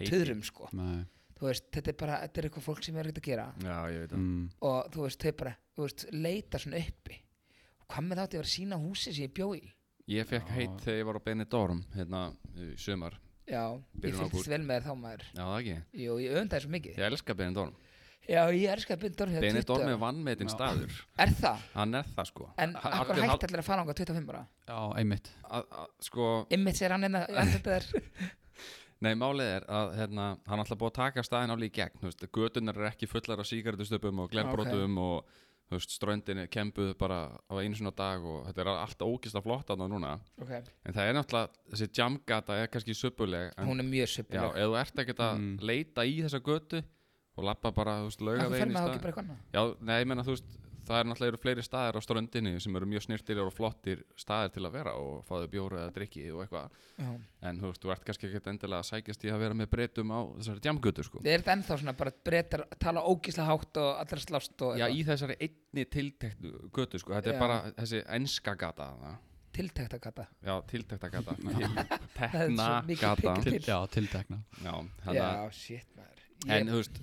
Já. töðrum sko. Nei. Þú veist, þetta er bara, þetta er eitthvað fólk sem er ekkert að gera. Já, ég veit það Mm. og þú veist, þau bara, þú veist, leita svona uppi hvað með þátti að vera sína húsi sem ég bjó í Ég fekk heit þegar ég var á Benidorm hérna í sumar já, ég Byrjun ágúst. fylgist vel með þér þá maður Já, það ekki jú, ég öfndaði svo mikið Ég elska Benidorm já, ég elska að byrja dormið Benidorm er vannmetinn staður er það? Hann er það sko en Ha- akkur allir hægt hald- allir að fara ánga 25 ára Já, einmitt. að- að- Sko, ymmið sér hann hérna, einna, þetta er nei málið er að hérna, hann alltaf búið að taka staðin alveg í gegn þú veist, Götunar er ekki fullar af sígardustöpum og glerbrotum og þú veist, ströndin er kembuð bara á einu svona dag og þetta er allt ógist að flotta þarna núna okay. En það er náttúrulega, þessi jamgata er kannski söpuleg en, hún er mjög Já, söpuleg ef þú ert ekkert að Mm. leita í þessa götu og lappa bara, þú veist, það fer laugavegin í með þá stað ekki bara eitthvað annað Já, nei, ég menna, þú veist, það er náttúrulega eru fleiri staðir á ströndinni sem eru mjög snirtir og flottir staðir til að vera og fáðu bjóru eða drikki og eitthvað Já. en þú veist, þú ert kannski ekkert endilega að sækjast í að vera með breytum á þessari jamgötu, sko er þetta ennþá svona bara breytar tala ógísla hátt og allra slást og Já, í þessari einni tiltektu götu, sko þetta Já. er bara þessi enska gata þarna. tiltækt að kata Já, tiltekta gata er svo Tekna mikið gata pikk- Til, Til- já, tiltekna. Já, þannig að já, shit maður En ég, þú veist,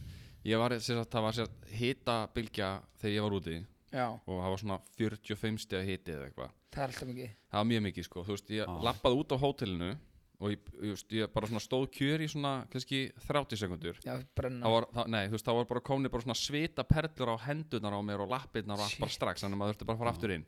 ég var, sér sagt, það var sér sagt hitabilgja þegar ég var úti já, og það var svona 45 stiga hiti eða eitthvað. það er alltaf mikið Það var mjög mikið sko, þú veist, ég Ah. lappaði út á hótelinu og ég, ég, veist, ég bara svona stóð kjör í svona, kannski 30 sekundur. já, brenna Það var, það, nei, þú veist, það var bara komni bara svona svita perlur á hendunar á mér og lappirnar og allt bara strax, þannig að maður þurfti bara að fara Ah. aftur inn.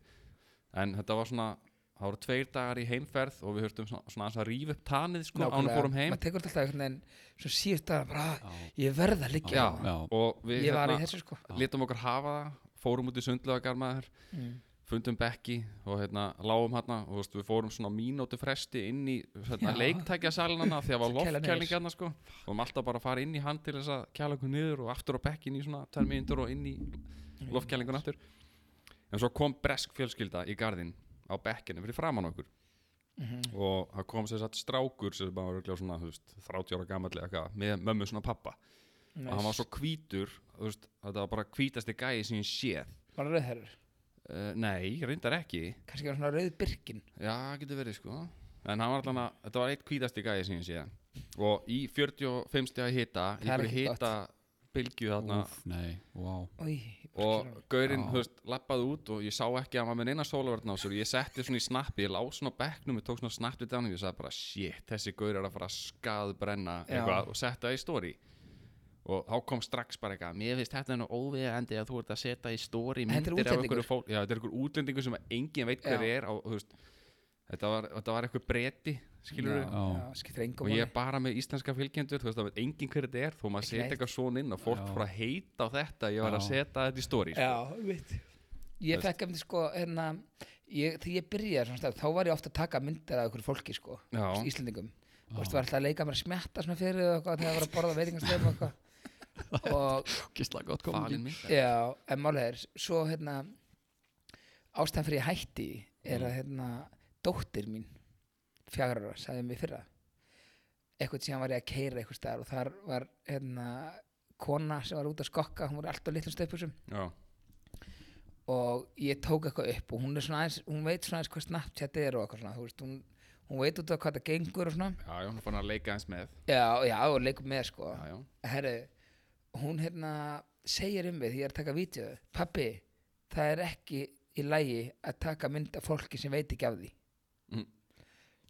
En þetta var svona, það voru tveir dagar í heimferð og við höfum svona, svona aðeins að rífa upp tanið sko, ánum Nákvæmlega. fórum heim. maður tekur þetta alltaf einhvern veginn svo síðust dagar bara "Ah, Já. ég verð að liggja Já, hérna." Já. og við hérna- ég var í þessu sko litum okkur hafa það, fórum út í sundlöðagar maður mm. fundum bekki og hérna lágum hérna og þú veist, við fórum svona mínútu fresti inn í Já. hérna, leiktækjasalinna því að var Svo kæla niður. loftkælingarna sko og við alltaf bara að fara inn í hand til þess að kæla okkur niður og aftur á bekkin í svona tvær mínútur og inn í loftkælingun aftur en svo kom bresk fjölskylda í garðin á bekkinu fyrir framann okkur Mhm, og það kom sér satt strákur sem bara var örugglega svona þú veist, 30 ára gamall eða eitthvað með mömmu svona pappa og hann var svo hvítur þú veist, þetta var bara hvítasti gæi sem ég séð var rauðherður uh, nei, reyndar ekki kannski var svona rauð birkin Já, getur verið sko En hann var allan að, þetta var eitt kvítasti gæði síðan síðan Og í 45 stega hita Það er Ykkur ekki gott. hita bylgju þarna Úf, nei, vá. Í, Og gaurinn, Já. þú veist, lappaði út Og ég sá ekki að hann var með neina sólaverðna á sér Ég setti svona í snappi, ég lá svona á bekknum Ég tók svona snappi dánum, ég sagði bara Shit, þessi gaur er að fara að skaðbrenna Já. eitthvað, Og setti það í stóri Og þá kom strax bara eitthvað Mér finnst þetta nú óviðandi að þú ert að setja í stóri En þetta er Myndir af útlendingur. einhverju fólk Já, þetta er einhver útlendingur sem að enginn veit hver Já. er á, þú veist, þetta, var, þetta var eitthvað breyti Skilur já, við Já. já, skiptir engum Og ég máli. er bara með íslenska fylgjendur Þú veist, það veit enginn hver þetta er Þó maður Ekki setja neitt. eitthvað svona inn Og fólk Já. fór að heita á þetta Ég var að Já. setja þetta í stóri já, veit ég Veist. fekk efni sko hérna ég, þegar ég byrjaði svona stað þá var ég ofta að taka myndir af ykkur fólki sko Já. Íslandingum og þú veist, var alltaf að leika mér að smjatta svona fyrir þau og eitthvað þegar það var að borða veitingastöðum og eitthvað og Gísla gott Falin komið. mynd Já, en málið er, svo hérna ástæðan fyrir ég hætti er að hérna dóttir mín fjagra ára, sagði mér fyrra eitthvað síðan var ég að keira eitthvað staðar og þar var hérna kona sem var út að skokka, hún var alltaf litlum stöpusum Já, og ég tók eitthvað upp og hún er svona aðeins, hún veit svona aðeins hvað Snapchat er og eitthvað svona, þú veist, hún, hún veit út af hvað það gengur og svona, já, já, hún er fann að leika eins með já, já, og leikum með sko, Já, já, herru, hún hérna segir um mig því ég er að taka vídeo pappi, það er ekki í lagi að taka mynd af fólki sem veit ekki af því Mm.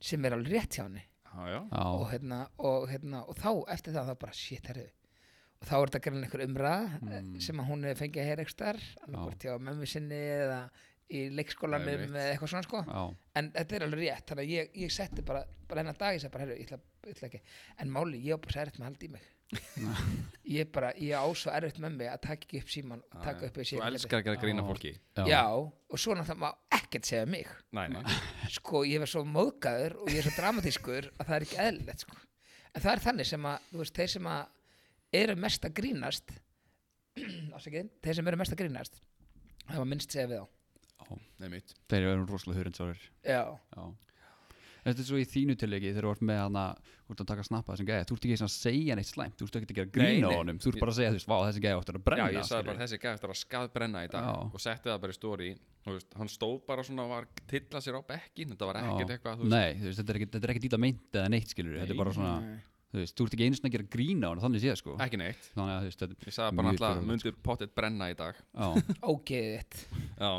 sem er alveg rétt hjá henni já, já og, Já. hérna, og, hérna, og þá eftir það þá bara shit herru og þá er þetta greinlega einhver umræða mm. sem að hún hefur fengið að heyra ekstar annarkvort hjá mömmu sinni eða í leikskólanum Einmitt. eða eitthvað svona sko já, en þetta er alveg rétt þannig að ég, ég setti bara, bara hennar dag ég sagði bara, herru, ég ætla, ég ætla ekki en máli, ég á bara svo erfitt með að halda í mig ég bara, ég á svo erfitt með mig að taka ekki upp síman og taka upp Þú elskar ekki að grína fólki já, og svo náttúrulega má ekkert segja um mig Nei, nei sko, ég var svo móðgæður og ég er svo dramatískur að það er ekki eðlilegt sko. en það er þannig sem að, þú veist, þeir sem að eru mest að grínast ásakið, þeir sem eru mest að grínast það var minnst segja við þá Nei mitt þeir eru rosalega hurindsárir já, já Þetta er svo í þínu tilegi þegar þú ert með hana þú ert að taka snappa þessum gæja, þú ert ekki eins og að segja neitt slæmt, þú ert ekki að gera Nei, grín á nei. honum þú ert bara að segja þú veist, vá þessi gæja áttur að brenna Já, ég sagði bara skilurðu." þessi gæði eftir að skaðbrenna í dag Já. og setti það bara í stóri veist, hann stóð bara svona og var tilla sér á bekkin þetta var ekkert Já. eitthvað þú veist, Nei, þú veist, þetta er ekkert- þetta er ekkert dýta meint eða neitt skilur þetta er Nei. bara svona, þú veist, þú ert ekki einu sinni að gera grín á hana þannig séð sko ekki neitt þannig að þú veist, þetta ég sagði bara Mjög alltaf furðulegt, myndu pottet brenna í dag já, ógeðið þitt já,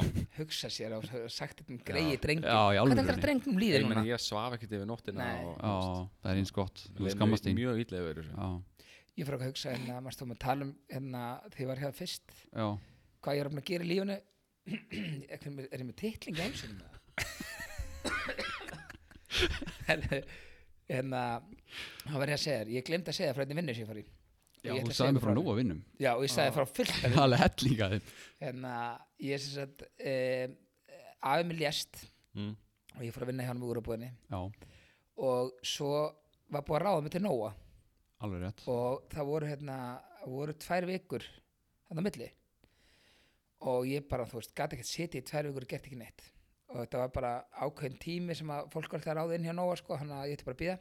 hugsa sér og sagt þetta um greiði drengum já, í hvað þetta alveg er drengnum líður ég núna meni ég svaf ekkert yfir nóttina Nei. og, Já, það er eins gott, þú þú veist, skammast leið mér þín mjög illa yfir þessu Já, ég fór eitthvað að hugsa hérna, maður stóðum að tala um hérna því ég var hér fyrst já, hvað ég er ofna að gera í lífunu er ég með- er ég með titling á einsinn hérna þá var ég að segja þér, ég glemd að segja þér frá einni vinnu sem ég fór í já Ég ætla þú að segja sagði frá mér frá henni. nóg að vinnum já, og ég sagði frá fullt af Það er alveg hellinga þinn hérna, ég sem sagt um, afi mér lést Mm. og ég fór að vinna hjá hann með úrabúðinni Já, og svo var búið að ráða mig til Nóa alveg rétt og það voru hérna voru tvær vikur þannig að milli og ég bara, þú veist, gæti ekkert setið í tvær vikur og gert ekki neitt og þetta var bara ákveðin tími sem að fólk var alltaf ráði inn hjá Nóa sko, hann að ég ætti bara að býða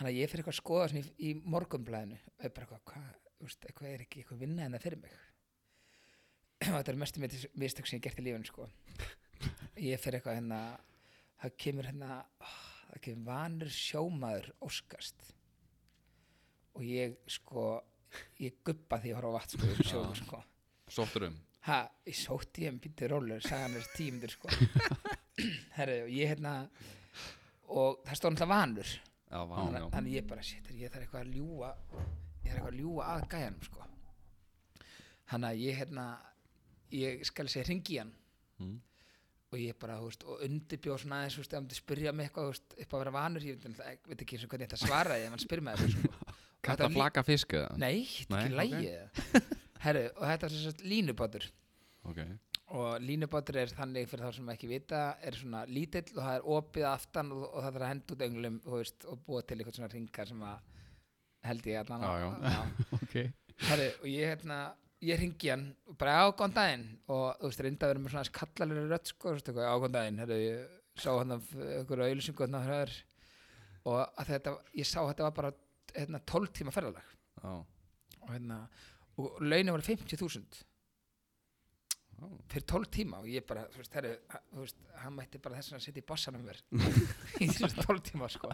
hann að ég fyrir eitthvað að skoða svona í, í morgunblæðinu og ég bara eitthvað, hvað, þú veist, eitthvað er ekki eitthvað vinna en það fyrir mig og þetta er mestu mistök sem ég hef gert í lífun sko. ég fyrir eitthvað hérna það kemur hérna oh, það kemur vanur sjómaður óskast og ég sko ég guppa því að horfa á vatn sko, í sjónum, sko. sóttur um ha, ég sótti ég um býttu rólur sagði hann þessi tímundur sko. herri, og ég hérna og það stóð náttúrulega vanur já, Þannig- van, já. þannig ég bara shit, ég þarf eitthvað að ljúga ég þarf eitthvað að ljúga að gæjanum sko. þannig að ég hérna ég skal segja hringi í hann Mm. og ég bara, þú veist, og undirbjóð svona aðeins, þú veist, ef hann myndi spyrja mig eitthvað, þú veist, upp að vera vanur, ég veit náttúrulega ekki- veit ekki eins og hvernig ég ætti að svara því ef hann spyr mig eitthvað, sko. Og þetta Kata var lí- flaka fisk eða? Nei, þetta er Nei, ekki lægið Herru, og þetta er sem sagt línubátur Ok. og línubátur er þannig fyrir þá sem ekki vita er svona lítill og það er opið aftan og, og það er að henda út önglum þú veist, og búa til eitthvað svona ringar sem að held ég allan Já, já. Ok Herru, og ég hérna ég ringi hann og bara á góðan daginn og þú veist, reynda að vera með svona kallalur rödd sko, þú veist, eitthvað, á góðan daginn herru, ég sá hann af ykkur auðlýsingu hérna hraður og að þetta, ég sá að þetta var bara hérna, 12 tíma ferðalag Já. og hérna og launin var 50.000 fyrir 12 tíma og ég bara, þú veist, herri, ha- þú veist hann mætti bara þess að setja í bassanum mér í þessu 12 tíma, sko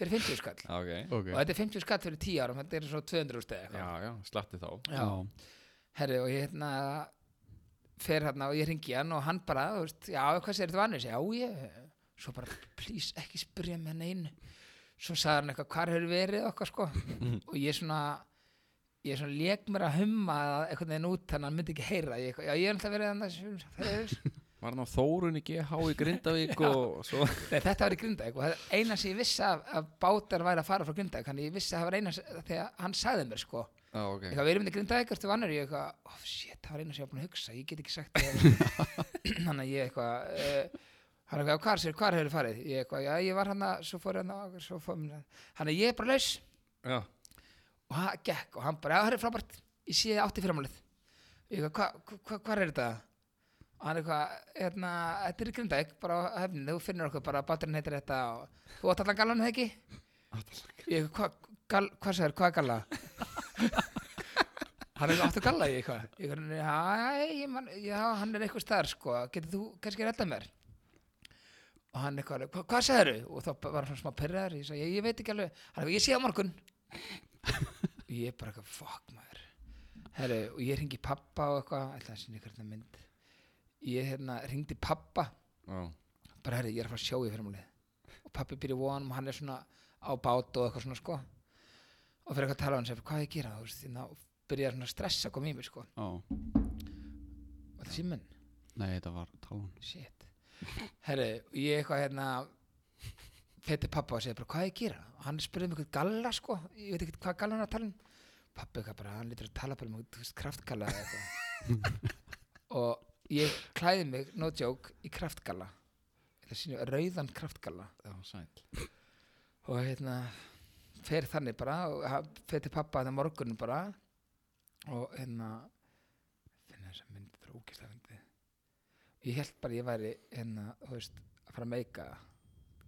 fyrir 50 skall Já, Ok. Ok og þetta er 50 skall fyrir 10 árum, þetta er svo 200 úrstæði Já, eitthvað, já, slatti þá. Já. herri, og ég hérna fer hérna og ég ringi hann og hann bara, þú veist, já, hvað sér þetta vannis já, ég, svo bara, please ekki spyrja með neinu svo sagði hann eitthvað, hvar hefur verið og okkar, sko og ég svona ég svona lék mér að humma það einhvern veginn út þannig að hann myndi ekki heyra ég, eitthvað, já, ég er alltaf verið annars, fyrir, Var hann á Þórun í GH í Grindavík og svo. Nei, þetta var í Grindavík og það eina sem ég vissi að, að bátar væri að fara frá Grindavík þannig ég vissi að það var eina sem- þegar hann sagði mér sko Já, ok. eitthvað við erum í Grindavík ertu vanur ég eitthvað oh shit það var eina sem ég var búin að hugsa ég get ekki sagt það þannig að ég eitthvað uh, hann eitthvað hvar sér hvar hefur farið ég eitthvað já ég var hann að svo fór hann að svo fór hann þannig að ég er bara laus Já. og hann gekk og hann bara, já, það er frábært ég sé þið átti framálið ég eitthvað, hva- hva- hva- hvar er þetta og hann eitthvað, hérna, þetta er í Grindavík bara á hefninu, þú finnur okkur bara báturinn heitir þetta og þú átt allan galan eða ekki ég eitthvað, hva, gal, hvað sagður, hvað er gala hann eitthvað áttu gala í eitthvað ég eitthvað, já, ég, man, já, hann er eitthvað staðar sko, getur þú kannski reddað mér og hann eitthvað, hva, hvað sagður og þá var hann svona smá pyrraður ég, sagði, ég, ég veit ekki alveg, hann eitthvað, ég sé á morgun og ég bara eitthvað, fuck maður Herru, og ég hringi pappa og eitthvað ætla að sinni hvernig mynd ég hérna, hringdi pappa Já. bara herri, ég er að fara að sjá í fyrirmálið og pappi byrja vonum og hann er svona á bát og eitthvað svona sko og fyrir eitthvað að tala á hann sér, hvað á ég að gera þú veist, þannig að byrja svona að stressa að koma í mig sko Já, og það síminn Nei, þetta var um. talan Shit. Herru, ég eitthvað hérna fætti pappa og segi bara hvað er ég að gera? Og Hann spurði mig eitthvað galla sko, ég veit ekkert hvað galla hann er að tala um. Pappi eitthvað bara, hann lítur að tala bara um þú veist, kraftgalla eða eitthvað. og ég klæði mig, no joke, í kraftgalla. Það sýnum rauðan kraftgalla. Það var sæl. Og hérna, fer þannig bara, og fætti pappa þannig morgunum bara. Og hérna, finna þess að myndi, það er ógislega myndi. Ég held bara ég væri, hérna, þú veist, að fara að meika það.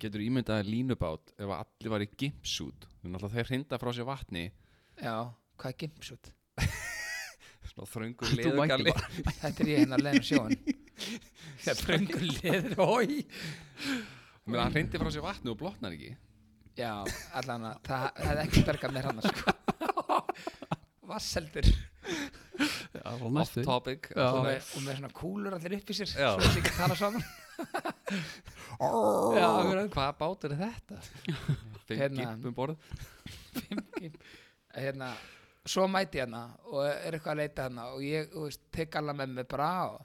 Getur ímyndaði línubát ef að allir var í gimpsút. Þannig að þeir hrinda frá sér vatni, Já, hvað er gimpsút? svona Þú þröngur mætti leðugalli. Þetta er ég hérna að leiðin á sjóan Það spröngur leður hói Þannig að hann hrindi frá sér vatni og blotnar ekki. Já, allan að það það hefði ekki bergað mér hann sko. Vasseldur Já, það var Off topic. Já. og allavega. með, og með svona kúlur allir upp í sér Já. Svo þessi ekki tala saman Já, akkurat. hvaða bátur er þetta? Fimm Hérna. gimp um borð hérna, Svo mæti ég hérna og er eitthvað að leita hérna og ég þú veist, tek alla með mig bara og,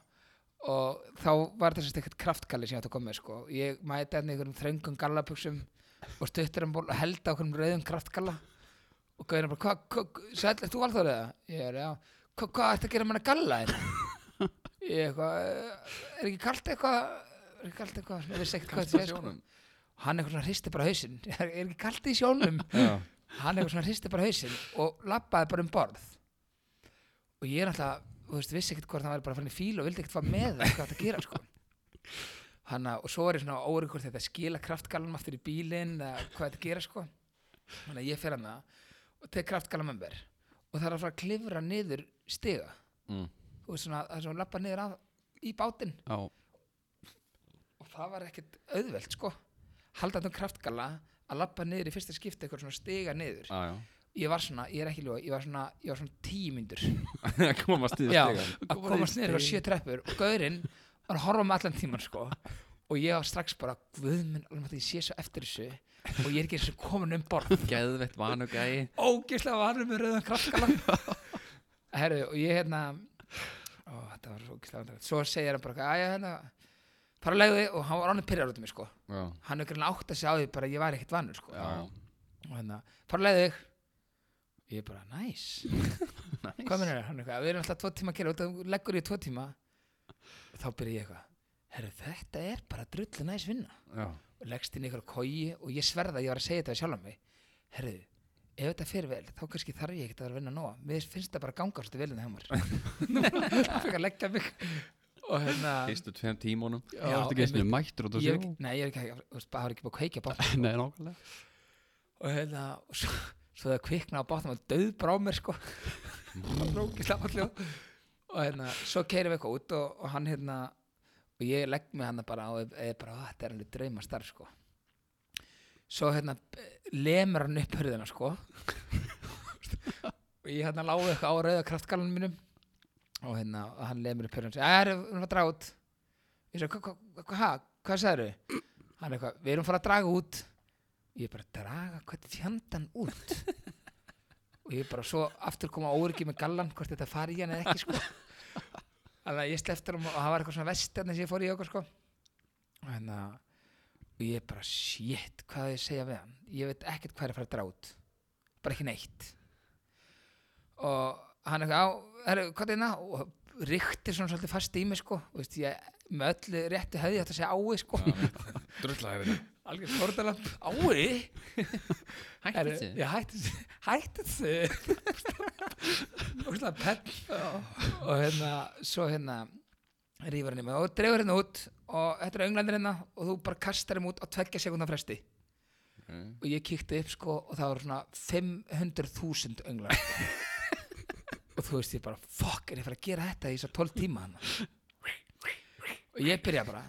og þá var þessast ekkert kraftgalli sem ég átti að koma með sko. ég mæti hérna í einhverjum þröngum gallabuxum og stuttur um ból og held á einhverjum rauðum kraftgalla og gauðin bara, hvað, hva, sæll, ert þú valþórið það? Ég er, já, hvað, hvað ertu að gera með hana galla hérna? Ég eitthvað, "Eh, er ekki kalt eitthvað er ekki kalt eitthvað, ég veist ekkert hvað þetta er sko. sjónum. hann eitthvað svona hristi bara hausinn er er ekki kalt í sjónum Já. hann eitthvað svona hristi bara hausinn og lappaði bara um borð og ég er alltaf, þú veist, vissi ekkert hvort hann væri bara fann í fíl og vildi ekkert fara með það hvað þetta gera sko Hanna, og svo er ég svona órið hvort þetta skila kraftgallanum aftur í bílinn eða hvað þetta gera sko þannig að ég fer hann það og tek kraftgallan með mér og það er að fara að klifra niður stiga Mm. þú veist svona, það er svona lappa niður að, í bátinn Já, og það var ekkert auðvelt sko haldandi um kraftgalla að lappa niður í fyrsta skipti eitthvað svona stiga niður Já, já. ég var svona, ég er ekki ljóð, ég var svona, ég var svona tímyndur Að komast niður Já, stigann. að komast niður á sjö treppur og gaurinn var að horfa með allan tíman sko og ég var strax bara, guð minn, alveg að ég sé svo eftir þessu og ég er ekki eins og komin um borð Geðveitt vanugæi. ógislega varum með rauðan kraftgalla herru, og ég hérna ó, þetta var svo ógislega vandrarlegt. svo segir hann bara, eitthvað, "Jæja, hérna fara að legðu þig og hann var ánum pyrrar út um mig sko Já. hann er greinlega átt að segja á því bara að ég var ekkert vannur sko Já. og hérna, fara að leiða þig ég er bara, næs hvað mennir hann eitthvað, við erum alltaf tvo tíma að gera og það leggur ég tvo tíma og þá byrja ég eitthvað, herru þetta er bara drullu næs vinna Já. og leggst inn í eitthvað kói og ég sverða að ég var að segja þetta sjálf á mig herru, ef þetta fer vel þá kannski þarf ég ekkert að vera að vinna nóa mér finnst þetta bara ganga svolítið vel en það hjá mér það fyrir að leggja mig og hérna Fyrstu tveim tímónum. já, það var ekki einu sinni einmitt. mættur út Ég á er sjó ekki- nei, ég er ekki, þú veist, það var ekki búið að kveikja bátnum Nei, nákvæmlega og hérna og svo, svo það kvikna á bátnum og döð brá mér sko Rókislega allir og hérna, svo keirum við eitthvað út og, og hann hérna og ég legg mig hann bara og ég er bara, "Á, þetta er alveg drauma starf sko svo hérna b- lemur hann upp hörðina sko og ég hérna lágu eitthvað á rauða kraftgalanum mínum og hérna, og hann lemur upp hörðina og segir, "Æ, erum við erum að draga út ég sagði, "Hva- hva- hva- ha, hvað sagðið hann eitthvað, við erum að fara að draga út ég bara, draga, hvað fjandan út og ég bara svo aftur koma óryggi með gallan hvort þetta fari í hann eða ekki sko þannig að ég sleftur um og það var eitthvað svona vestarni sem ég fór í okkur sko og hérna og ég bara shit, hvað á ég að segja við hann ég veit ekkert hvað er að fara að draga út bara ekki neitt og hann eitthvað á herru, hvað er hérna og ríkti svona svolítið fast í mig sko og veist, ég, með öllu réttu hefði þetta að segja ái sko Drullar er þetta. algjör fórtalamp ái Hætti Hættu þessu Hættu þessu Hættu þessu Og svona penn Og hérna, svo hérna Rífur hann í mig og dregur hérna út Og þetta er önglandir hérna Og þú bara kastar þeim út á tveggja sekundar fresti Ok. Og ég kíkti upp sko Og það voru svona 500.000 önglar Og þú veist ég bara Fuck, er ég fyrir að gera þetta í svo 12 tíma hann Og ég byrja bara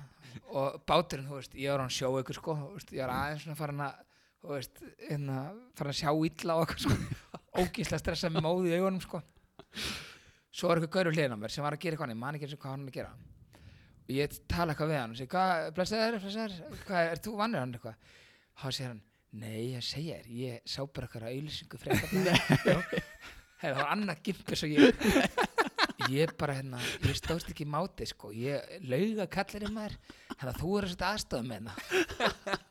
Og báturinn, þú veist, ég var hann sjó ykkur sko þú veist, Ég var aðeins svona farin að þú veist, hérna, fara að sjá illa og eitthvað sko, ógíslega stressa með móði í augunum sko svo var eitthvað gaurur hliðin á mér sem var að gera eitthvað annað, ég man ekki eins og hvað hann er að gera og ég tala eitthvað við hann og segi, hvað, blessaður, blessaður hvað, er þú vannir hann eitthvað þá segir hann, nei, ég segja þér ég sá bara eitthvað auðlýsingu frekar það var annað gimpis og ég ég bara hérna, ég stóðst ekki í máti sko, ég lauga kallari maður þannig að þú eru svolítið aðstofað með hérna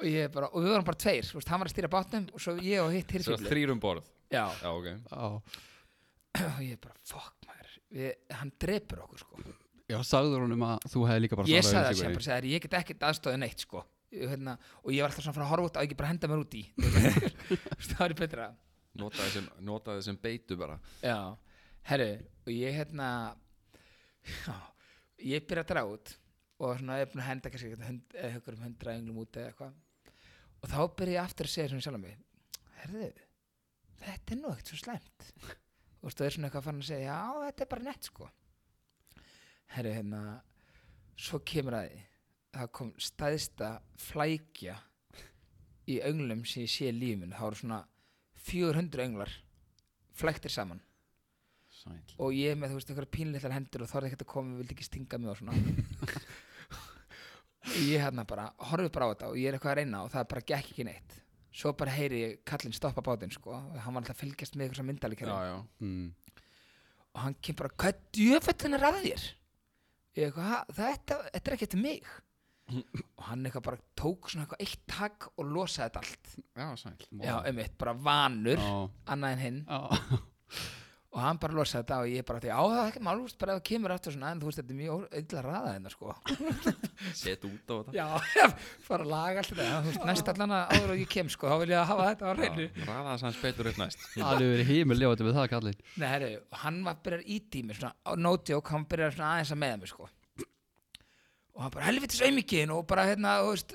og ég bara, og við vorum bara tveir þú veist, hann var að stýra bátnum og svo ég og hitt Svo hirfjöfli þrýrum borð já, Já, ok Á, og ég bara, fuck maður við, hann drepur okkur sko já, sagður honum að þú hefði líka bara ég svarað sagði það Sigurði. sem bara sagði, ég get ekkert aðstofað neitt sko Ég, hérna, og ég var alltaf svona frá að horfa út á ekki bara henda mér út í Þú veist, það var betra Notaði sem, notaði sem beitu bara Já, herru, og ég hérna já, ég byrja að draga út og svona er búin að henda kannski eitthvað hund- eða eitthvað um hundra englum út eða eitthvað og þá byrja ég aftur að segja svona sjálf mig herru, þetta er nú ekkert svo slæmt og þú er svona eitthvað farin að segja já, þetta er bara nett sko herru, hérna svo kemur að því það kom staðista flækja í önglum sem ég sé í lífin það voru svona 400 önglar flæktir saman Sæll. og ég með þú veist einhverja pínleittar hendur og þorði ekkert að koma, vildi ekki stinga mig og svona ég hérna bara horfði bara á þetta og ég er eitthvað að reyna og það bara gekk ekki neitt svo bara heyri ég kallinn stoppa bátinn sko og hann var alltaf að fylgjast með eitthvað myndalíkari Já, já Mm. og hann kemur bara, hvað djöfellin er að þér? Ég eitthvað, "Ha, þetta, þetta er ekki eftir mig og hann eitthvað bara tók svona eitthvað eitt takk og losaði þetta allt Já, sæl já, um eitt, bara vanur, Já, annað en hinn já. og hann bara losaði þetta og ég bara því, á það er ekki mál, þú veist, bara ef það kemur aftur svona en þú veist, þetta er mjög illa að raða hérna, sko Set út á þetta já, fara að laga allt þetta þú veist, næst allan að áður og ég kem, sko þá vil ég hafa þetta á reynu Raða þess hans beitur upp næst Það hefur verið heimiljóðandi með það kallinn Nei, herru, og hann var að byrja ít í mig svona, á nótjók, hann byrjar svona aðeins að meða mig sko. og hann bara helvitis auðmikið og bara hérna þú veist,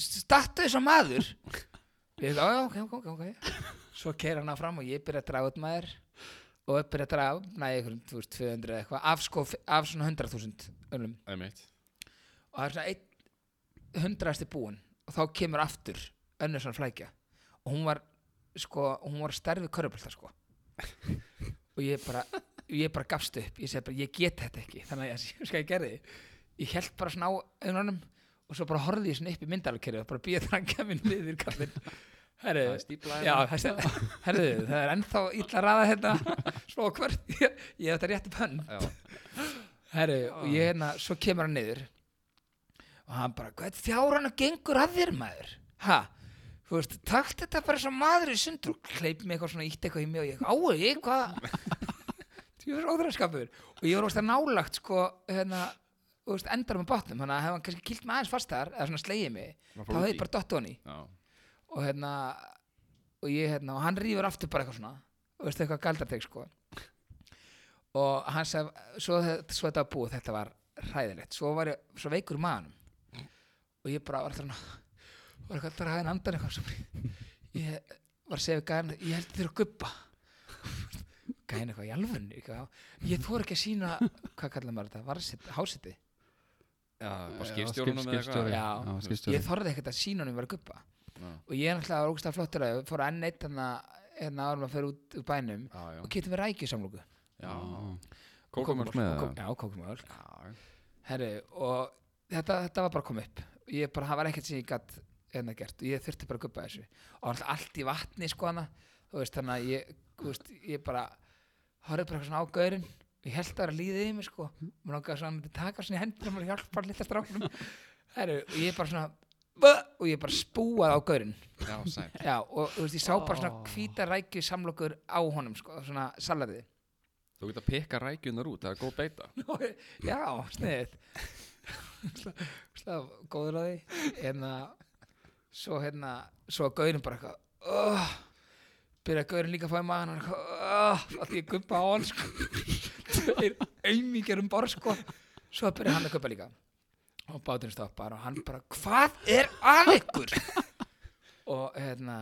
startu þess að maður ég ekki, ok, ok, ok, ok svo keir hann áfram og ég byrja að draga út maður og ég byrja að draga, næ, einhverjum, þú veist, 200 eða eitthvað, af sko, af svona 100.000 önlum, Einmitt og það er svona einn hundrasti búin og þá kemur aftur önnur svona flækja og hún var sko, hún var stærfi körfubolta sko og ég bara ég bara gafst upp, ég segi bara ég get þetta ekki þannig að ég skal ég gerði ég held bara svona á önunum og svo bara horfði ég svona upp í myndalkerfið og bara býða þannig að kemur niður kallinn Herru, Það er stífla hérna. já, það er- herru, það er ennþá illa ræða hérna svo hvert, ég, ég hef þetta rétt upp hönd Já, Herru, Ah. og ég hérna, svo kemur hann niður og hann bara, hvað fjár hann að gengur að þér maður? Ha? Þú veist, takt þetta bara svo maður í sundur og kleip mig eitthvað svona, ítt eitthvað í mig og ég, á, ég, hvað? Þú veist, óþræðskapur og ég var óst að nálagt, sko, hérna, þú veist, endar með botnum, þannig að hefði hann kannski kilt mig aðeins fastar eða svona slegið mig, þá Var bara út hefði í. ég bara dott honi já og hérna og ég hérna, og hann rýfur aftur bara eitthvað svona og veistu eitthvað galdartek sko og hann sagði svo, þe- svo þetta var búið, þetta var hræðilegt svo var ég, svo veikur í maðanum og ég bara var alltaf svona var eitthvað alltaf ræðin andan eitthvað svo bara- ég var að segja við gæðan ég held þér að guppa gæðin eitthvað í alvörinu eitthvað. ég þóra ekki að sína, hvað kallar maður þetta varðsitt, hásiti Já, bara Já, skipstjórnum skip- skipstjóri. Já. Já, ég skipstjóri. þorði ekkert að sína honum var að guppa Já. og ég er náttúrulega var ógstað flottur að fóra enn eitt hérna hérna árum að fyrir út úr bænum Já, já og kipti mér rækjusamlúku Já. Já. Kókumöld með Og kó- það já, kókumál Já, herri, og þetta, þetta var bara að koma upp ég bara, það var ekkert sem ég gatt hérna gert og ég þurfti bara að guppa þessu og allt, allt í vatni sko hana þú veist, þannig að ég, þú veist, ég bara horfði bara eitthvað svona á gaurinn ég held að vera líðið í mig sko mér langaði svona að hann myndi taka svona í hendur og mér hjálpa lilla stráknum herri, og ég bara svona "Bæ!" og ég bara spúaði á gaurinn já, sæl Já, og þú veist, ég sá bara svona Ó. hvíta rækju samlokur á honum, sko, svona salariði. Þú getur að pikka rækjunar út, það er góð beita Já, sniðið. Slag, góður á því. Hérna, svo hérna, svo að gaurin bara eitthvað, oh, byrja gaurin líka að fá í maðan, hann eitthvað, oh, að ég guppa á hann, sko. Tveir auðmíkjar um borð, sko. Svo byrja hann að guppa líka. Og báturinn stoppar og hann bara, hvað er að ykkur? og hérna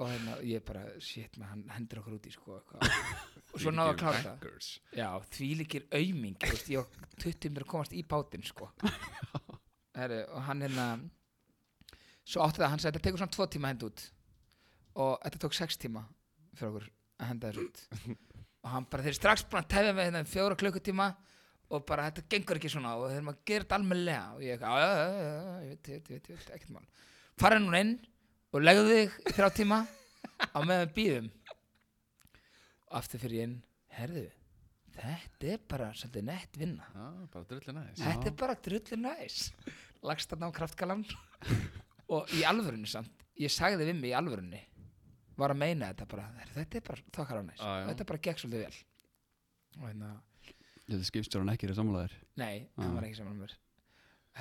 og hérna, ég bara, shit, maður, hann hendur okkur út í sko, eitthvað. og svo náðu að klára það Já, því líkir auming þú veist, Ég var 20 minnur að komast í bátinn sko. Heru, Og hann hérna Svo átti það, hann sagði Þetta tekur svona tvo tíma að henda út Og þetta tók sex tíma fyrir okkur að henda þessu út Og hann bara, þeir eru strax búin að tefja með hérna um fjóra klukkutíma Og bara, þetta gengur ekki svona Og þeir eru að gera þetta almennilega Og ég ekki, já, já, já, já, já, ég veit, ég veit, ég veit, ég veit, ekkert mál Fara núna inn og legðu þig í þrjá tíma Á meðan við býðum Aftur fyrir ég inn, herðu þetta er bara svolítið nett vinna Já, bara drullu næðis þetta er bara drullu næs lagst þarna á kraftgalan og í alvörunni samt ég sagði við mig í alvörunni var að meina þetta bara, "Heyrðu, þetta er bara þokkar á næs Já, já. og þetta bara gekk svolítið vel og hérna Þetta skipstjóran ekki er sammálaður Nei, hann var ekki saman með mér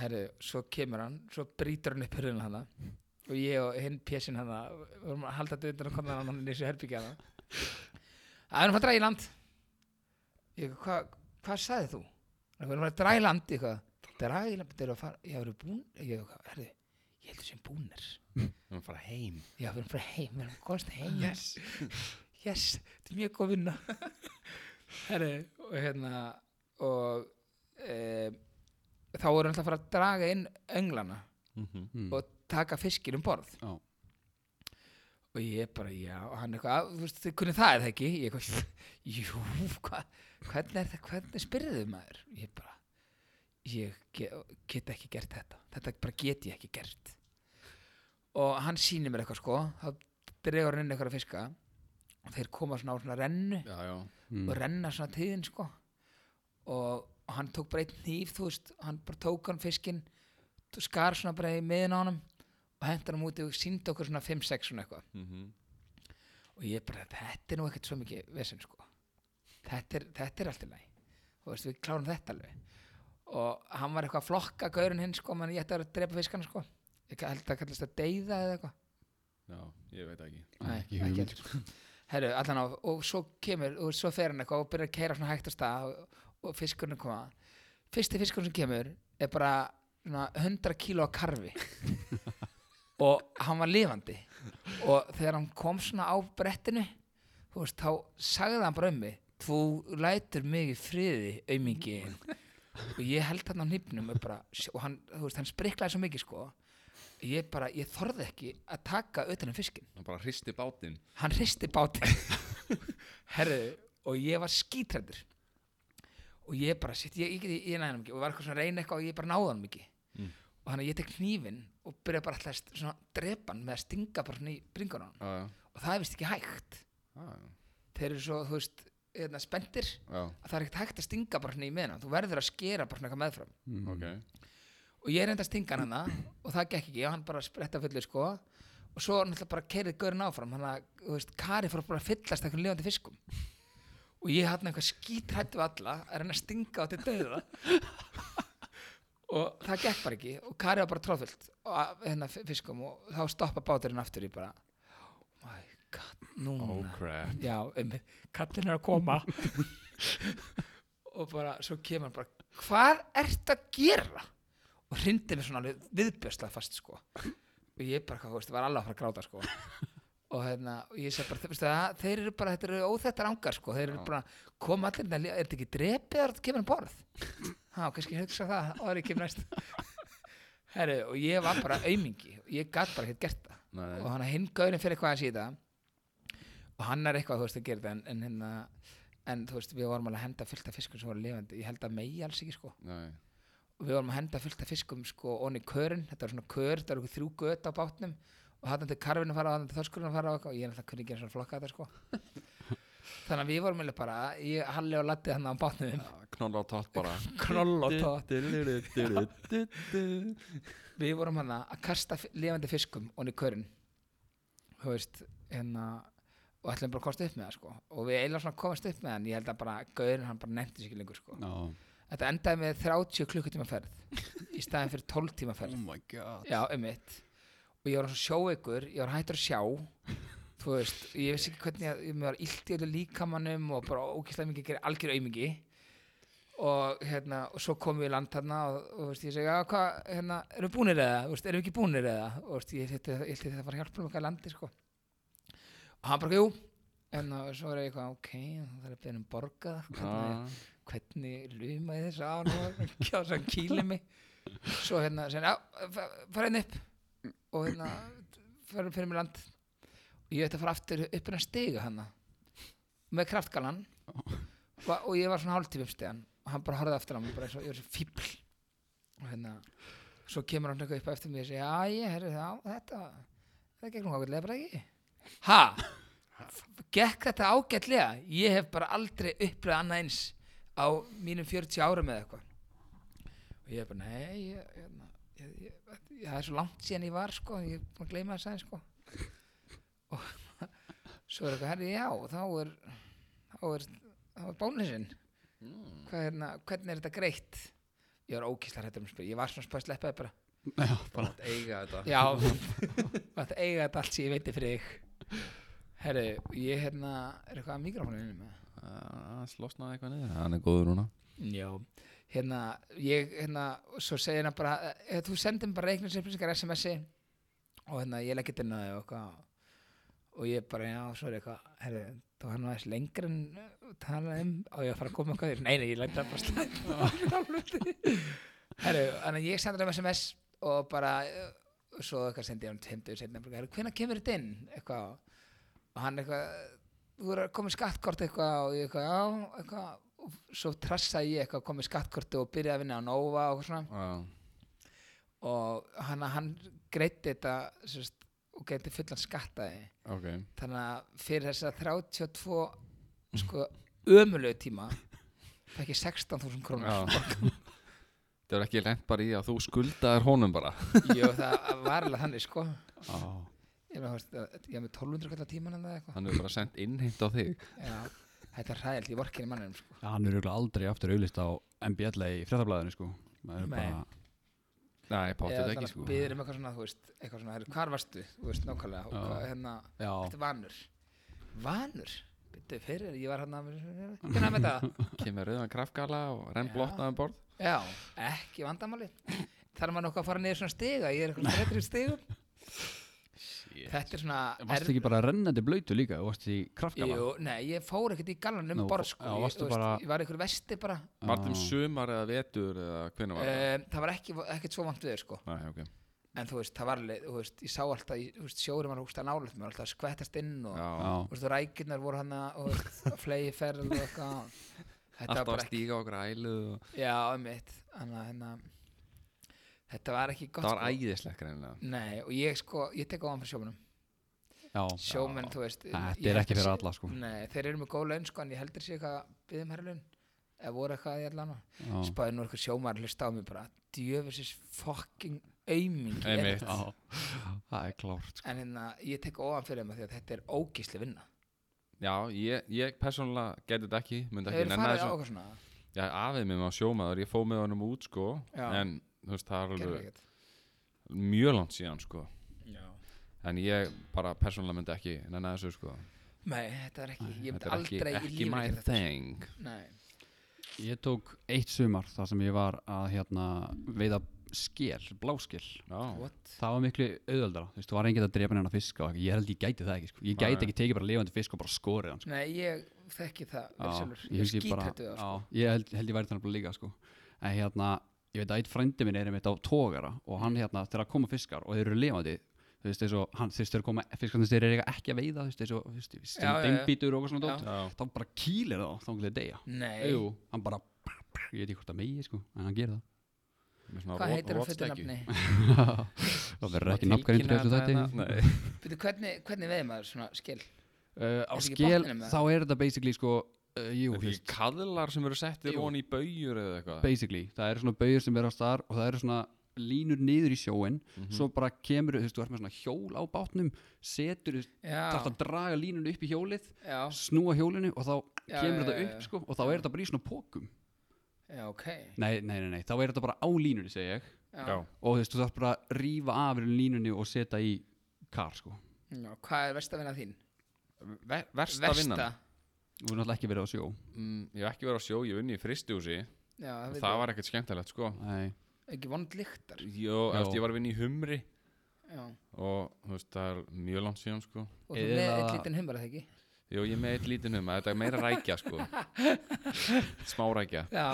Herru, svo kemur hann, svo brýtur hann upp hurðin hana og ég og hinn pjessin hana vorum að halda þetta undan og koma hann hann í þessu herbyggja hana Það erum að fara að draga í land Ég, hvað hva sagði þú? Það erum að fara að draga í land eitthvað Draga í land, þetta eru að fara, ég hefur búin Ég, hvað, herru, ég heldur sem búnir Við erum að fara heim Já, við erum að fara heim, við erum að komast heim Yes, yes, þetta er mjög góð vinna Herri, og hérna og e, þá erum við alltaf að fara að draga inn önglana Mhm. mm. og taka fiskinn um borð Já. og ég bara, já, og hann eitthvað þú veist, hvernig það er það ekki? Ég eitthvað, jú, hva, hvernig er það hvernig spyrðu maður? Ég bara ég get, get ekki gert þetta þetta bara get ég ekki gert og hann sýnir mér eitthvað sko þá dregur hann inn eitthvað að fiska og þeir koma svona á svona rennu Já, já Mm. og renna svona tíðin sko og, og hann tók bara einn hníf þú veist, hann bara tók hann fiskinn t- skar svona bara í miðin á honum og hendur hann úti og síndi okkur svona 5-6 svona eitthvað Mhm. og ég bara, þetta er nú ekkert svo mikið vesen sko þetta er, þetta er allt í lagi og veist, við klárum þetta alveg og hann var eitthvað að flokka gaurinn hinn sko, menn ég ætti að vera að drepa fiskana sko ég held að kallast að deyða eða eitthvað Já, ég veit ekki Ekki hugmynd, heldur. sko. Herru, allan á, og svo kemur, og svo fer hann eitthvað og byrjar að keira svona hægt á stað og, og fiskurinn koma. Fyrsti fiskurinn sem kemur er bara svona 100 kíló af karfi og hann var lifandi og þegar hann kom svona á brettinu, þú veist, þá sagði hann bara um mig, þú lætur mig í friði, aumingi og ég held hann á hnýpnum og, bara, og hann, þú veist, hann spriklaði svo mikið sko ég bara, ég þorði ekki að taka utan um fiskin Hann bara hristi bátinn hann hristi bátinn herðu, og ég var skítrættur og ég bara sitt, ég, ég, ég, ég næði hann ekki og var eitthvað svona að reyna eitthvað og ég bara náði hann ekki Mm. og þannig að ég tek hnífinn og byrja bara alltaf að st- svona drepa hann með að stinga bara svona í bringan á hann Já, já og það er vist ekki hægt Já, Ah, já. þeir eru svo, þú veist, hérna, spendir Já, að það er ekkert hægt að stinga bara svona í meðan þú verður að skera bara svona eitthvað meðfram ok og ég reyndi að stinga hann hana og það gekk ekki og hann bara spretta fullu sko og svo náttúrulega bara kerið gaurin áfram hann að, þú veist, Kari fór bara að fyllast einhvern lifandi fiskum og ég hann eitthvað skítrættu alla að reyna að stinga á til döða og það gekk bara ekki og Kari var bara tróðfullt og að- hérna fi- fiskum og þá stoppa báturinn aftur ég bara oh my god, núna Oh crap já, um, kallin er að koma og bara, svo kemur hann bara hvað ert að gera og hrindi mér svona alveg viðbjörslega fast sko og ég bara, hvað, þú veist, var alveg að fara að gráta sko og hérna, og ég segi bara, þú veist það þeir eru bara, þetta eru óþættar ángar sko þeir eru Já. bara, koma allir, hérna, er þetta ekki drepið þegar þetta kemur um borð há, kannski ég hugsa það, og það er ekki næst herru, og ég var bara aumingi, ég gat bara ekkert gert það Nei, og hann hinn gaurinn fyrir eitthvað að síða og hann er eitthvað þú veist að gera þetta en, en, hérna, en þú veist við vorum alveg að henda fullt af fiskum sem voru lifandi ég held að megi alls ekki sko nei og við vorum að henda fullt af fiskum sko onni körin, þetta var svona kör, þetta var eitthvað þrjú göt á bátnum og þarna til karfinu fara og þarna til þorskurinn að fara og, eitthvað, og ég er alltaf kunni ekki eins og flokka þetta sko þannig að við vorum alveg bara ég halli og latti hann á bátnum Knolla á tótt bara knoll og tótt tótt við vorum hann að kasta fi- lifandi fiskum onni körin þú veist hérna og ætlum bara að kosta upp með það sko og við eiginlega svona komast upp með hann ég held að bara gaurin hann bara nefndi sér ekki lengur sko Já þetta endaði með 30 klukkutíma ferð í staðin fyrir 12 tíma ferð Oh my god já, um og ég var svona sjóveikur ég var hættur að sjá þú veist, ég vissi ekki hvernig að, ég mér var illt í öllu líkamannum og bara ókýrslega mikið gerir algjör aumingi og hérna, og svo komum við í land þarna og, og þú veist, ég segi, já, hvað, hérna erum við búnir eða, þú veist, erum við ekki búnir eða og þú veist, ég held að þetta var hjálpunum eitthvað landi, sko og hann bara, jú en og svo er ég eitthvað, ok, það er að beða um borga Hérna Ah. hvernig, hvernig luma ég þessu án og kjása hann kýli mig svo hérna, sem, já, fa- fara henni upp og hérna fyrir, fyrir mig land og ég ætti að fara aftur upp en að stiga hann með kraftgalan og, og ég var svona hálftíma upp stegan og hann bara horfði aftur á mig bara eins og ég var svo fíbl og hérna svo kemur hann eitthvað upp á eftir mig og segja já, ég, herri, já, þetta þetta gekk nú ágætlega bara ekki ha, gekk þetta ágætlega ég hef bara aldrei upplegað annað eins á mínum 40 árum eða eitthvað og ég er bara, nei ég, ég, ég, ég, ég, það er svo langt síðan ég var sko, ég er búin að gleyma þess aðeins sko og svo er eitthvað, herri, já, þá er þá er, þá er bónusinn Hmm. Hvað er, hérna- hvernig er þetta greitt ég var ókísla hættur um spil ég var svona spæð sleppaði bara Já, bara Að eiga þetta já, þetta eiga þetta allt sem ég veiti fyrir þig herru, ég hérna er eitthvað að hérna mikrofónu innum með Það slosnaði eitthvað niður Hann er góður núna Já, hérna, ég, hérna, svo segir hérna bara, eh, þú sendir mér bara reikningsupplýsingar SMS-i og hérna, ég legg þetta inn á þig og eitthvað og ég bara, já, svo er eitthvað, herri, þú hann aðeins lengur en eh, talað um og ég að fara að koma eitthvað þér, nei, nei, ég legg það bara slæmt Herru, þannig að ég sendir um SMS og bara, eh, og svo eitthvað sendi ég hann tindu, sendi hann bara, herru, hvenær kemur þetta inn, eitthvað, og hann eitthvað, þú er að koma með skattkort eitthvað og ég eitthvað, já, eitthvað og svo trassaði ég eitthvað, kom með skattkorti og byrjaði að vinna á Nova og eitthvað svona Já og hann, hann greitti þetta sérst, og greitti fullan skattaði Ok þannig að fyrir þessa 32 sko ömulegu tíma fekk ég 16.000 krónur Já Það er ekki lent bara í að þú skuldaðir honum bara Jú, það var alveg þannig sko á, ég, meina, þú veist, að- ég var með 1200 kallar tíman eða eitthvað Hann hefur bara sendt innheimt á þig Já, þetta er hræðilt, ég vorkinni mannum sko. Hann er örugglega aldrei aftur auðlist á MBL í fréttablaðinu sko Maður er Nei. bara, Nei, Eða páttið þannig ekki að sko biður um eitthvað svona, þú veist, eitthvað svona, "Heyrðu, hvar varstu, þú veist, nákvæmlega og Já. hvað, hérna, já, Þetta er vanur Vanur? Bittu fyrir, ég var hann að Hvernig með það? Kemur rauðan krafgala og renn Já. blotnaðan borð Já, ekki vandamáli Þarf maður nokkuð að fara niður svona stiga Ég er eitthvað strettur í stigum Þetta er svona varstu ekki bara rennandi blöytu líka Þú varst í kraftgala Jú, nei, ég fór ekkert í gallan um Nú, borð sko. já, ég, varstu þú bara- ég var í einhverju vesti bara Vartum um sumar eða vetur eða hvernig var það? um, Það var ekki, ekkert svo vant við sko. Nei, ok En þú veist, það var alveg þú veist, Ég sá alltaf, í- þú veist, sjóri var húst að nálægt mér Alltaf að skvettast inn og, Já Já, og þú veist, rækirnar voru hann að flegi ferð og eitthvað Þetta var Alltaf að bara stíga og grælu og... Já, einmitt Þannig að hérna, þetta var ekki gott Það var sko. æðislegt greinilega Nei, og ég sko, ég tek ofan fyrir sjómanum já Sjómenn, þú veist ég Þetta er held ekki að fyrir sé- alla sko Nei, þeir eru með góð laun sko, en ég heldur sér eitthvað byggðum herrlun eða voru eitthvað í allan Já. Spáði nú eitthvað sjómar hlusta á mig bara djöfisins fucking auming er Einmitt. þetta? Já, það er klárt sko. En hérna, ég tek ofan fyrir þeim af því að þetta er ógísli vinna Já, ég, ég persónulega geti þetta ekki Myndi Þau ekki eru nenni farið á þessu okkur svona Já, afið mér með á sjómaður, ég fóð með honum út sko Já. En þú veist, það er gerðu alveg ekkert. mjög langt síðan sko Já. En ég bara persónulega myndi ekki nenni þessu sko Nei, þetta er ekki Ég myndi Þetta er ekki, aldrei í ekki lífinu my gera þetta. thing Nei, Ég tók eitt sumar þar sem ég var að hérna, veiða skél, bláskél Já, what? Það var miklu auðveldara, þú veist, þú var enginn að drepa neina fiska og eitthvað. ég held ég gæti það ekki, sko. ég gæti Nei. ekki tekið bara lifandi fisk og bara skorið hann, sko. Nei, ég þekki það vel Já, sjálfur. Ég er hugsi bara- skítrættu það sko. Já, ég held, held ég væri þannig bara líka, sko. En hérna, ég veit að eitt frændi minn er einmitt á tógara og hann hérna, þegar það koma fiskar og þeir eru lifandi, þú veist, þessu, hann, þessu, þeir koma, fiskarnir þeir eru eiga ekki að veiða, þú veist, þessu, þessu, þessu, Já, já, já. dengbítur og eitthvað svona Já. dótt, þá bara kýlir það, þá englir deyja. Nei, Jú, hann bara, ég veit ekki hvort það megi, sko, en hann gerir það. með svona hvað ro- heitir hann fullu rotsleggju. nafni? það verður ekki nafngrindur eftir Tilkynna þetta. þetta hérna? Byrju, hvernig, hvernig veið maður svona skil? Uh, á Er þetta ekki skél, botninum, eða? þá er þetta basically sko, uh, jú, Nei, þú ekki veist, kaðlar sem eru settir Jú. von í baugur eða eitthvað basically, það eru svona bauður sem verðast þar og það eru svona línur niður í sjóin Mhm. svo Mhm. bara kemur, þú veist, þú ert með svona hjól á bátnum setur, þú veist, Já, þarf að draga línunni upp í hjólið já, snúa hjólinu og þá Já, já, kemur þetta já, upp já. sko og þá er þetta bara í svona pókum já, ok. nei, nei, nei, nei, þá er þetta bara á línunni, segi ég Já, og þú veist, þú þarf bara að rífa af línunni og setja í kar sko já, hvað er versta vinna þín? Ver, Versta vinnan og náttúrulega ekki verið á sjó mm, Ég hef ekki verið á sjó, ég vunni í fristjúsi Já, það, Það var ekkert skemmtilegt sko nei, ekki vond lyktar. Jó, eftir ég var að vinna í humri Já, Og þú veist, það er mjög langt síðan sko og þú með Eða- eitt lítinn humar það ekki? Jó, ég er með eitt lítinn humma, þetta er meira rækja sko Smá rækja Já,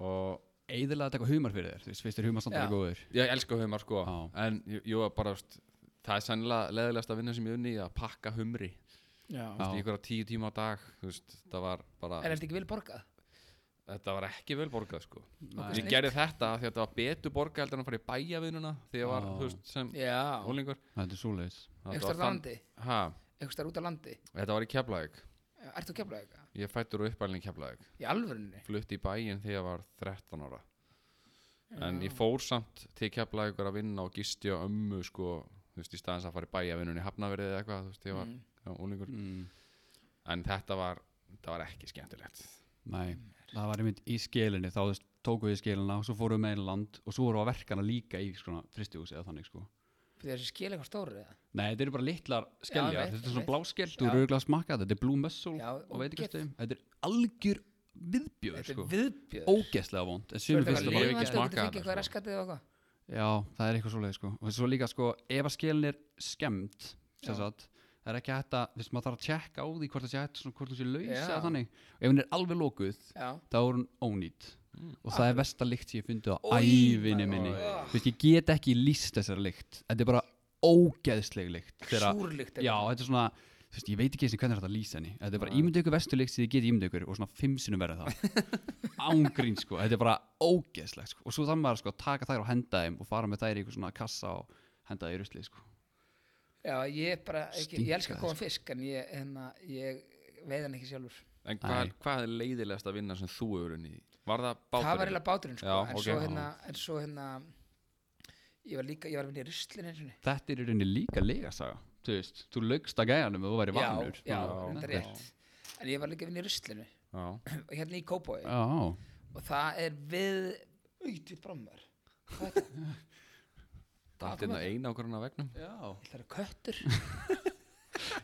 Og eðilega þetta eitthvað humar fyrir þér, þú veist, finnst þér humar samt Já. alveg góður ég elska humar sko Já. En jú, jú, bara, þú veist, það er sennilega leðilegast að vinna sem ég unni Að pakka humri já. Já. Í ykkur tíu tíma á dag þú veist, Það var bara, En er þetta ekki vel borgað? þetta var ekki vel borgað sko Nei. Ég gerði þetta af því að þetta var betur borga heldur en að fara í bæjavinnuna því ég var, Já. þú veist, sem Já, ólingur þetta er svoleiðis einhver starf á landi, Ha, einhver starf út á landi. þetta var í Keflavík Ertu að kemla eitthvað? Ég er fættur og uppalinn í Keflavík Í alvörunni? flutti í bæinn þegar ég var 13 ára en ég fór samt til Keflavíkur að vinna og gisti á ömmu sko, þú veist, í staðins að fara í bæjavinnunni hafnaverið eða eitthvað, þú veist, ég var Mm. mm. úlingur, mm. en þetta var þetta var ekki skemmtilegt Nei, það var einmitt í skelinni þá þú veist, tókum við skilina og svo fórum við með einn land og svo vorum við að verkana líka í svona fristihús eða þannig sko. Fyrir þessi skil eitthvað stóru eða? Nei, þetta eru bara litlar Já, skeljar, einmitt, þetta er svona einmitt. bláskel Já. þú eru auðvitað að smakka þetta, þetta er blue muscle Já, og veit ekki ógeð. hvað þetta er, þetta er algjör viðbjör Þetta sko, er viðbjör. ógeðslega vond en Svo er sumir finnst þetta þetta bara lífandi og þú lifandi. ekki smakkað getur fengið þetta, eitthvað sko. raskatið og eitthvað. Já, það er eitthvað svoleiði sko og svo líka sko, ef að skilin er skemmt sem Já. sagt, það er ekki hægt að þess að maður þarf að tjekka á því hvort það sé hægt svona, hvort þú sé laus Já. eða þannig og ef hún er alveg lokuð, Já. þá er hún ónýtt Mm. og það er versta lykt sem ég fundið á Oj, ævinni maður. minni Ugh. Þú veist, ég get ekki lýst þessari lykt þetta er bara ógeðsleg lykt þegar að- Súrlykt. já, þetta er svona þú veist, ég veit ekki eins og hvernig er þetta að lýsa henni þetta er bara ímyndu ykkur verstu lykt sem þið get ímyndu ykkur og svona fimm sinnum verða það ángrín sko, þetta er bara ógeðslegt sko. og svo þannig maður sko, að taka þær og henda þeim og fara með þær í ykkur svona kassa og henda þær í rusli sko. Já, ég er bara, ekki, ég Stinka elska góðan fisk en ég, hérna, ég veið hann ekki sjálfur. en hvað, Æ. er- hvað er leiðilegast að vinna sem þú hefur unni var það bátur? Það var eiginlega báturinn, sko. Já, en, ok. svo, hérna, en svo hérna, ég var líka, ég var að vinna í ruslinn eins og niður. þetta er í rauninni líka legasaga þú veist, þú laugst að gæjanum og þú væri vanur Já, já, Svona, þetta er rétt. En ég var líka að vinna í ruslinu, já, og hérna í Kópói. já, Og það er við, auðvitað brammar. Hvað er þetta? það er eina okkur hann að vegnum já. Það eru köttur.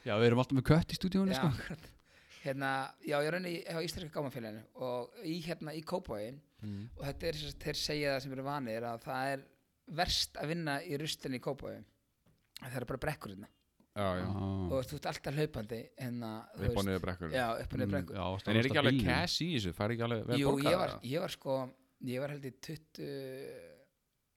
Já, við erum alltaf með kött í stúdíónu, Já, sko. akkurat. Hérna, já, ég raunni á Íslandska gámafélaginu og í hérna í Kópóin Mm. og þetta er sem sagt, þeir segja það sem eru vanir að það er verst að vinna í ruslinni í Kópóin. Það eru bara brekkur hérna já, já, og Mm. þú veist, þú ert alltaf hlaupandi hérna, þú upp á veist- niður Mm. brekkur Já, upp og niður brekkur. Mm, Já, en er ekki alveg cash í þessu, fær ekki alveg vel Jú, borgað ég var, það? ég var sko, ég var held í 20,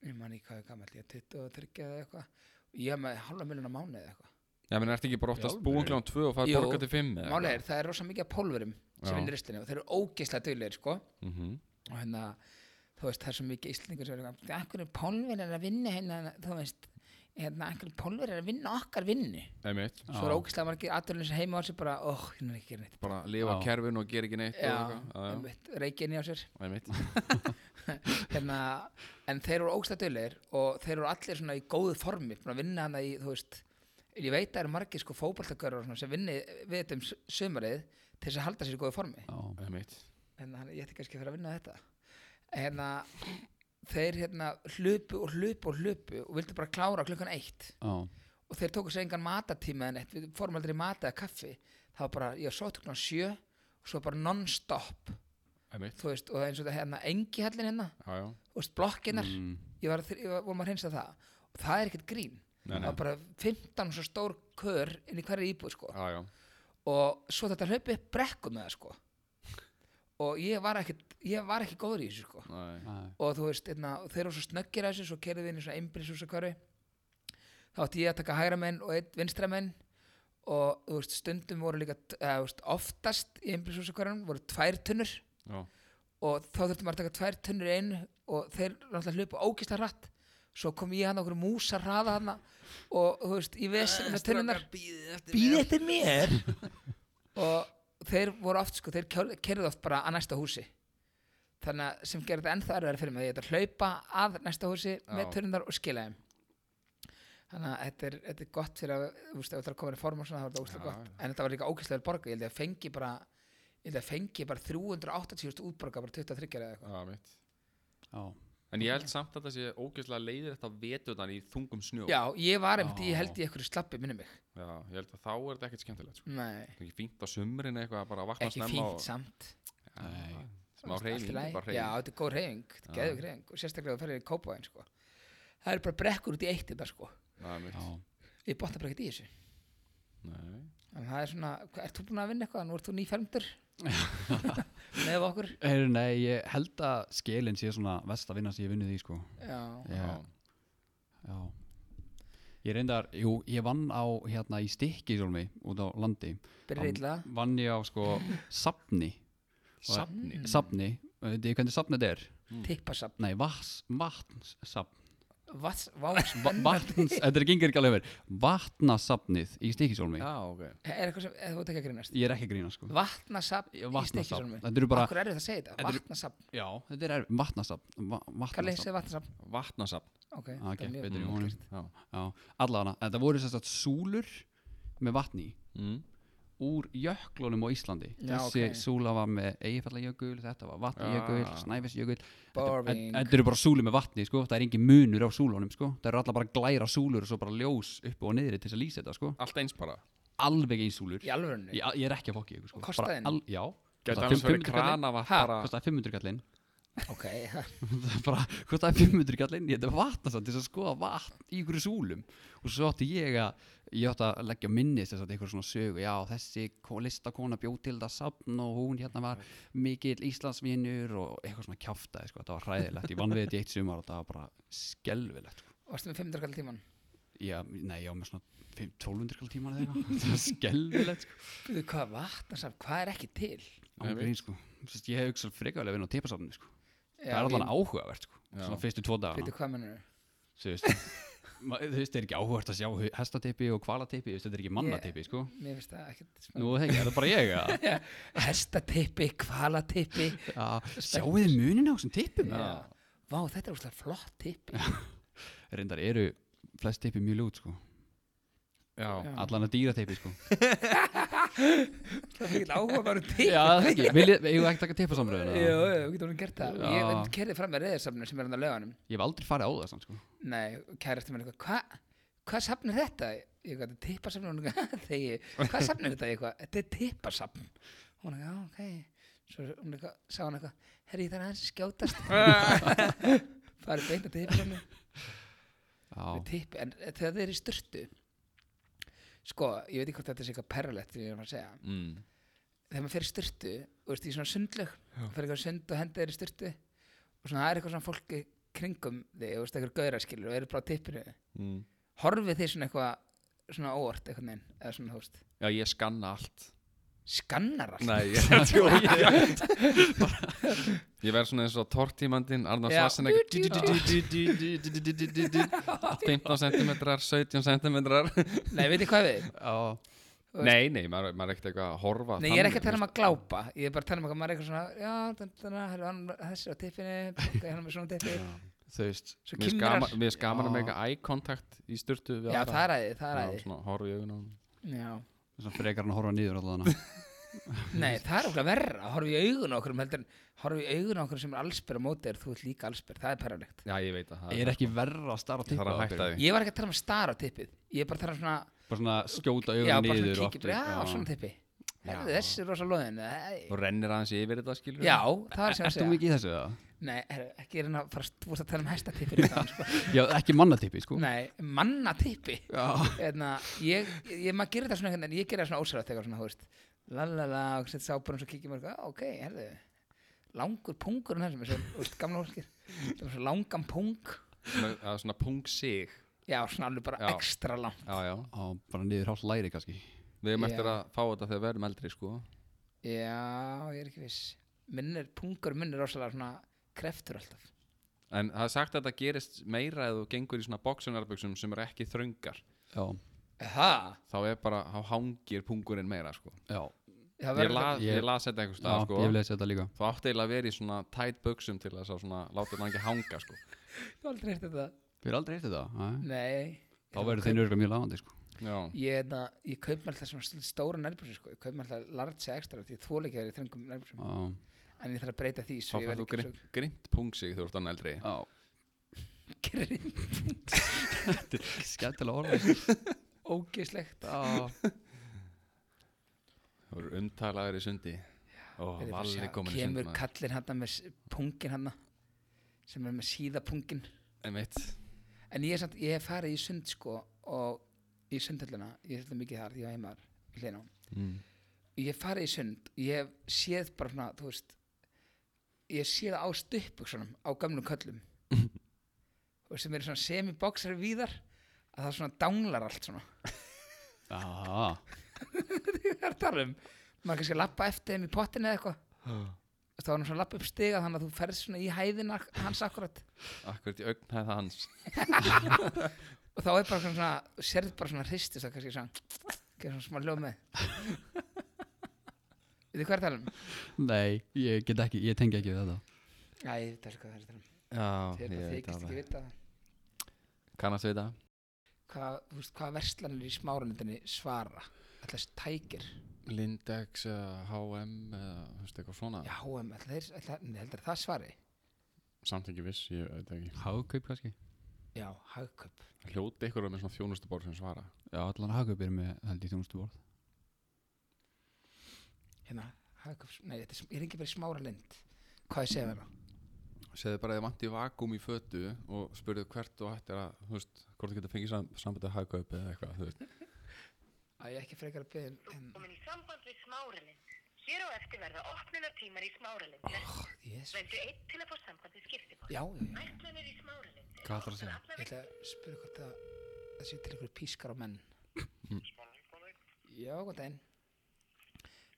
ég man ekki hvað ég gamall, ég 23 eða eitthvað og ég hef með halva miljon á mánuði eða eitthvað. já, menn ertu ekki bara oftast Í búin alvöru? klán 2 og fær Jú, borgað til 5 Málega er, það er rosa mikið af pólverum Já. sem vinna í ruslinni og þeir eru ógeislega duglegir, sko. mm og hérna þú veist það er svo mikið íslendingur sem er eitthvað akkur er pólverið að vinna hérna þú veist hérna akkur er pólverið að vinna okkar vinnu einmitt svo er ógæslega margir aðdurlun sem heima á sér bara óh, oh, hérna er ekki að gera neitt bara lifa Já. kerfin og gera ekki neitt og já, eitthvað. já, einmitt, reikinni á sér já, einmitt hérna, en þeir eru ógæslega dölir og þeir eru allir svona í góðu formi búin að vinna hana í, þú veist ég veit að það eru margir sko fótballtagörur sem vinni við þetta um s- sumarið til þess að halda sér í góðu formi Já, einmitt en hann, ég ætti kannski að fyrir að vinna þetta En hérna þeir hérna hlupu og hlupu og hlupu og vildu bara klára klukkan eitt já, og þeir tóku sér engan matatíma en eitt, við fórum aldrei í mat eða kaffi það var bara, ég var sótt klukkan sjö og svo bara non-stop einmitt þú veist, og það er eins og þetta hérna engi hellin hérna, já, já þú veist, blokkinnar Mm. ég var, að þr- ég var, vorum að hreinsa það og það er ekkert grín Nei, það nei. var bara 15 svo stór kör inn í hverju íbúð sko já, já og svo þetta hlaupi upp brekku með það sko og ég var ekki, ég var ekki góður í þessu sko Nei. Nei. og þú veist, einna, þeir eru svo snöggir að þessu svo kerðið inn í svona einbríshúsakörfi þá átti ég að taka hægra menn og einn vinstra menn og þú veist, stundum voru líka eða, þú veist, oftast í einbríshúsakörfum voru tvær tunnur já, og þá þurfti maður að taka tvær tunnur í einu og þeir náttúrulega hlupa ógislega hratt svo kom ég hann okkur músa hraða hann og þú veist, í vesinu með tunnunar býði eftir mér og þeir voru oft sko, þeir kerðu oft bara að næsta húsi þannig að sem gerði þetta ennþá erfiðar fyrir mig ég ætla að hlaupa að næsta húsi Já. með tunnunar og skila þeim þannig að þetta er, þetta er gott fyrir að þú veist, ef þetta er að koma í form og svona þá er þetta ógislega Já, gott en þetta var líka ógislega vel borga, ég held ég að fengi bara ég held ég að fengi bara 380.000 útborga bara 23 eða eitthvað já, mitt já. en ég held samt að það sé ógeðslega leiðir þetta veturnar í þungum snjó Já, ég var einmitt, Já. ég held í einhverju slappi minni mig Já, ég held að þá er þetta ekkert skemmtilegt sko. Nei, það er ekki fínt á sumrin eitthvað að bara vakna ekki snemma fínt og, samt já, Nei. smá Allt í reyning, lagi. bara Já, reyning þetta er góð reyfing, þetta er Já. geðvig reyfing og sérstaklega þú ferðir í kópaðin sko. Það eru bara brekkur út í eitt þetta sko já, mitt já. Ég bóta bara ekkert í þessu Nei. En það er svona, ert þú búin að vinna eitthvað? Nú ert þú nýfermdur með okkur Heyrðu, nei, ég held að skilin sé svona vest að vinna sem ég vinnið í, sko. Já, Já. Já. Ég reyndar, jú, ég vann á, hérna, í stikki sjálfmi, út á landi. byrja Am- illa Vann ég á, sko, safni. safni Mm. Mm. Safni, veit ég hvernig safnið er? Tippa samt Nei, vatns, vatns, safn. Vats, vá, Va- Vatns, þetta er gengur ekki alveg verið Vatnasafnið í Stikisólmi Já, ok er eitthvað sem, eða þú ert ekki að grínast Ég er ekki að grína sko Vatnasafn Já, í vatnasafn. Stykkishólmi Þetta eru bara- Akkur er þetta að segja Þetta þetta, eru- vatnasafn Já, þetta er erfið Vatnasafn Va Kalli, Vatnasafn segja vatnasafn Vatnasafn Ok, Ah, þetta gekk er mjög betur í vel honum. gert. Já Já, allavega Þetta voru sérst að súlur með vatni í, mm. úr jöklunum á Íslandi Já, Þessi ok. súla var með Eyjafjallajökul Þetta var vatnajökul, Já. snæfisjökul Þetta Boring. þetta eru bara súlur með vatni sko Það er engin munur á súlunum sko Það eru allar bara glæra súlur og svo bara ljós upp og niðri til þess að lýsa þetta sko Allt eins bara Alveg eins súlur Í alvörunni Ég, ég er ekki að fokki ykkur sko Og kostaði Bara henni? al- Já Kostaði Gæti annars verið 500 kallinn. kranavatn Ha? bara Kostaði 500 kallinn Ok, Það er bara, hvort það er 500 kallinn ég ætti að vatna samt til þess að skoða vatn í ykkur súlum og svo átti ég að ég átti að leggja minni þess að ykkur svona sögu já, þessi ko- listakona bjó til það safn og hún hérna var mikill Íslandsvinur og eitthvað svona kjaftaði sko, þetta var hræðilegt, ég vann við þetta í eitt sumar og þetta var bara skelvilegt sko. varstu með 500 kall tíman já, nei, já, með svona 5 1200 kall tíma eða eitthvað, þetta var skelvilegt sko. Býðu hvað vatnasafn, hvað er ekki til Án Nei, við- gríns, sko. Sest, ég hef hugsað frekarlega vinna á tepasafni sko. það Já, er allan ég- áhugavert sko. Já. svona fyrstu tvo dagana Býtu hvað mennur þú veist ma- þú veist, það er ekki áhugavert að sjá hu- hestatipi og kvalatipi, þú veist, þetta er ekki mannatipi, sko Mér finnst það ekkert Nú, smá það er það bara ég að Hestatippi, kvalatippi Já, sjáu þið munin á þessum tipum Já. Vá, þetta er úrslega flott tippi Reyndar eru flest tipi mjög ljút, sko Já, Já. Allan að dýra tipi, sko Það er mikil áhuga bara tippi Já, það er ekki, viljið, eigum við ekki að taka tipa samröðina Jú, jú, við getum alveg gert það Já. Ég kerði fram með reyðarsafnum sem er hann að löganum Ég hef aldrei farið á það, samt, sko Nei, kærasti mér eitthvað Hvað hva safn er þetta? Ég gæti tippasafn og hún eitthvað Þegi, hvað safn er þetta? Ég eitthvað, þetta er tippasafn Hún eitthvað, já, ok Svo hún eitthvað, sá hann eitthvað Herri, það er aðeins að skjótast Farið beint að tippasafnu Já, tipp, En eh, þegar þeir eru í styrtu Sko, ég veit ekki hvort þetta sé eitthvað perralett Þegar ég var að segja mm. þegar maður fer í styrtu og veist, í svona sundlög fer eitthvað í sund og hendi þér í styrtu og svona það er eitthvað svona fólki kringum þig og veist, eitthvað gauðraskilur og eru bara á tippinu Mm. horfið þið svona eitthvað svona óvart eitthvað neinn eða svona þú veist Já, ég skanna allt skannar allt Nei, ég er tjóð Ég verð svona eins og tortímandinn Arnar Já. Svarsenegg 15 cm, 17 cm nei, veit þið hvað við já, Nei, nei, maður maður er ekkert eitthvað að horfa nei, ég er ekki að þannig, tala um að glápa ég er bara að tala um að maður er eitthvað svona já, þannig, þannig, hann þessi á tippinu ok, hann er með svona tippi þú veist svo Mér finnst kymrar gaman- mér finnst gaman að Já. meika eye contact í styrtu við já, aðra. það er aðið, það er Já, aðið svona horfa í augun á honum. já. Svona frekar hann að horfa niður allan nei, það er okkur verra horfið í augun okkur um heldur en horfið í augun okkur sem er allsbyr á móti er þú ert líka allsbyr, það er perralegt Já, ég veit að það Er ekki verra að starra Ég tipa þarf að hætta því Ég var ekki að tala um star á tippið Ég er bara að tala um svona Bara svona skjóta Já, augun bara niður svona og kikið aftur. Já, svona tippi Herðu, þessi er rosa loðin Nei. Þú rennir aðeins yfir þetta skilur Já, það er sem að E, Ert þú segja mikið í þessu, það? Nei, herru, ekki er hann að fara Þú vorst að tala um hestatippir í dag, sko. Já, ekki mannatipi, sko Nei, mannatippi Já, Eðna, ég, ég, maður gerir það svona einhvern veginn, ég gerir það svona ósælægt eitthvað svona, þú veist, lalala og setja sápur og svo kíkja mörg, "Ah, ok, herðu langur pungur en þessum, þú veist, gamla fólkir það var svo langan pung Svona- Það er svona pung sig já, svona alveg bara Já. ekstra langt Já, já Á, bara niður hálf læri kannski Við erum Já. eftir að fá þetta þegar við erum eldri sko Já, ég er ekki viss Minnir, pungur minnir rosalega svona kreftur alltaf En það er sagt að þetta gerist meira eða þú gengur í svona boksunarbuxum sem eru ekki þröngar Já, Það? þá er bara, þá hangir pungurinn meira sko. já, Það ég, verður la, ég, Ég- las þetta einhvers já stað sko. ég vil lesa þetta líka þú átti eiginlega að vera í svona tight buxum til þess að svona, láta þetta ekki hanga sko. Ég hef aldrei heyrt þetta Við erum aldrei eftir það nei. Nei Þá verður þeir nörgulega mjög lagandi sko. já, Ég, hefna, ég kaup mér alltaf svona svolítið stóra nærbúsi sko. Ég kaup mér alltaf large extra Því ég þóla ekki að vera í þröngum nærbúsum Já, En ég þarf að breyta því þá Svo ég fær verð þú ekki um- grind, grind pung sig þú ert annað eldri já svo grind Skemmtilega orða Ógeðslegt Já, þú eru umtalaður í sundi og Þegar ég bara valli sjá- komin í sund Kemur maður. kallinn hann með s- punginn hann Sem er með síða punginn Einmitt. En ég, er samt, ég hef farið í sund sko og í sundhöllina, ég hef þetta mikið þar, ég var heimar í hliðina. á. Mm. Ég hef farið í sund, ég hef séð bara svona, þú veist, ég hef séð á stuppbuksunum á gamlum köllum og sem eru svona semi-boxar víðar að það svona danglar allt svona. já það er að tala um, maður kannski lappa eftir þeim í pottinu eða eitthvað það var nú svona lapp upp stiga þannig að þú ferð svona í hæðina hans akkurat Akkurat í augn hefði hans og þá er bara svona, þú sérð bara svona hristist það kannski svona, gerð svona smá hljóð með Við þið hvað er að tala um? Nei, ég get ekki, ég tengi ekki við þetta Æ, ég veit alveg hvað það er að tala um Já, Þeir bara þykist ekki vita það Kannast við það? Hvað, þú veist, hvað verslanir í smáralindinni svara? Alltaf tækir Lindex, uh, H&M eða, þú veist, eitthvað svona Já, HM, alltaf, alltaf, heldur það svari? Samt ekki viss, ég veit það ekki Hagkaup kannski? Já, hagköp Hljóti ykkur að vera með svona þjónustubor sem svara Já, allan hagkaup er með held í þjónustuborð Hérna, hagköp, nei, þetta er, sm- ég ringi bara í smáralind Hvað ég segja þarna? Segðu bara að þið vanti vakum í fötu og spurðu hvert og hættir að, þú veist, hvort þú getur fengið sam sambandi að haka upp eða eitthvað, þú veist Æ, ég er ekki frekar að um, byrja en, komin í samband við smáralind. Hér á eftir verða opnunartímar í smáralind. Oh. yes. Vendu einn til að fá samband við skiptibóð. Já, já, já Ætlanir í smáralind. Hvað ætlarðu að segja? Ég ætla að spyrja hvort það það sé til ykkur pískar á menn Já, góð daginn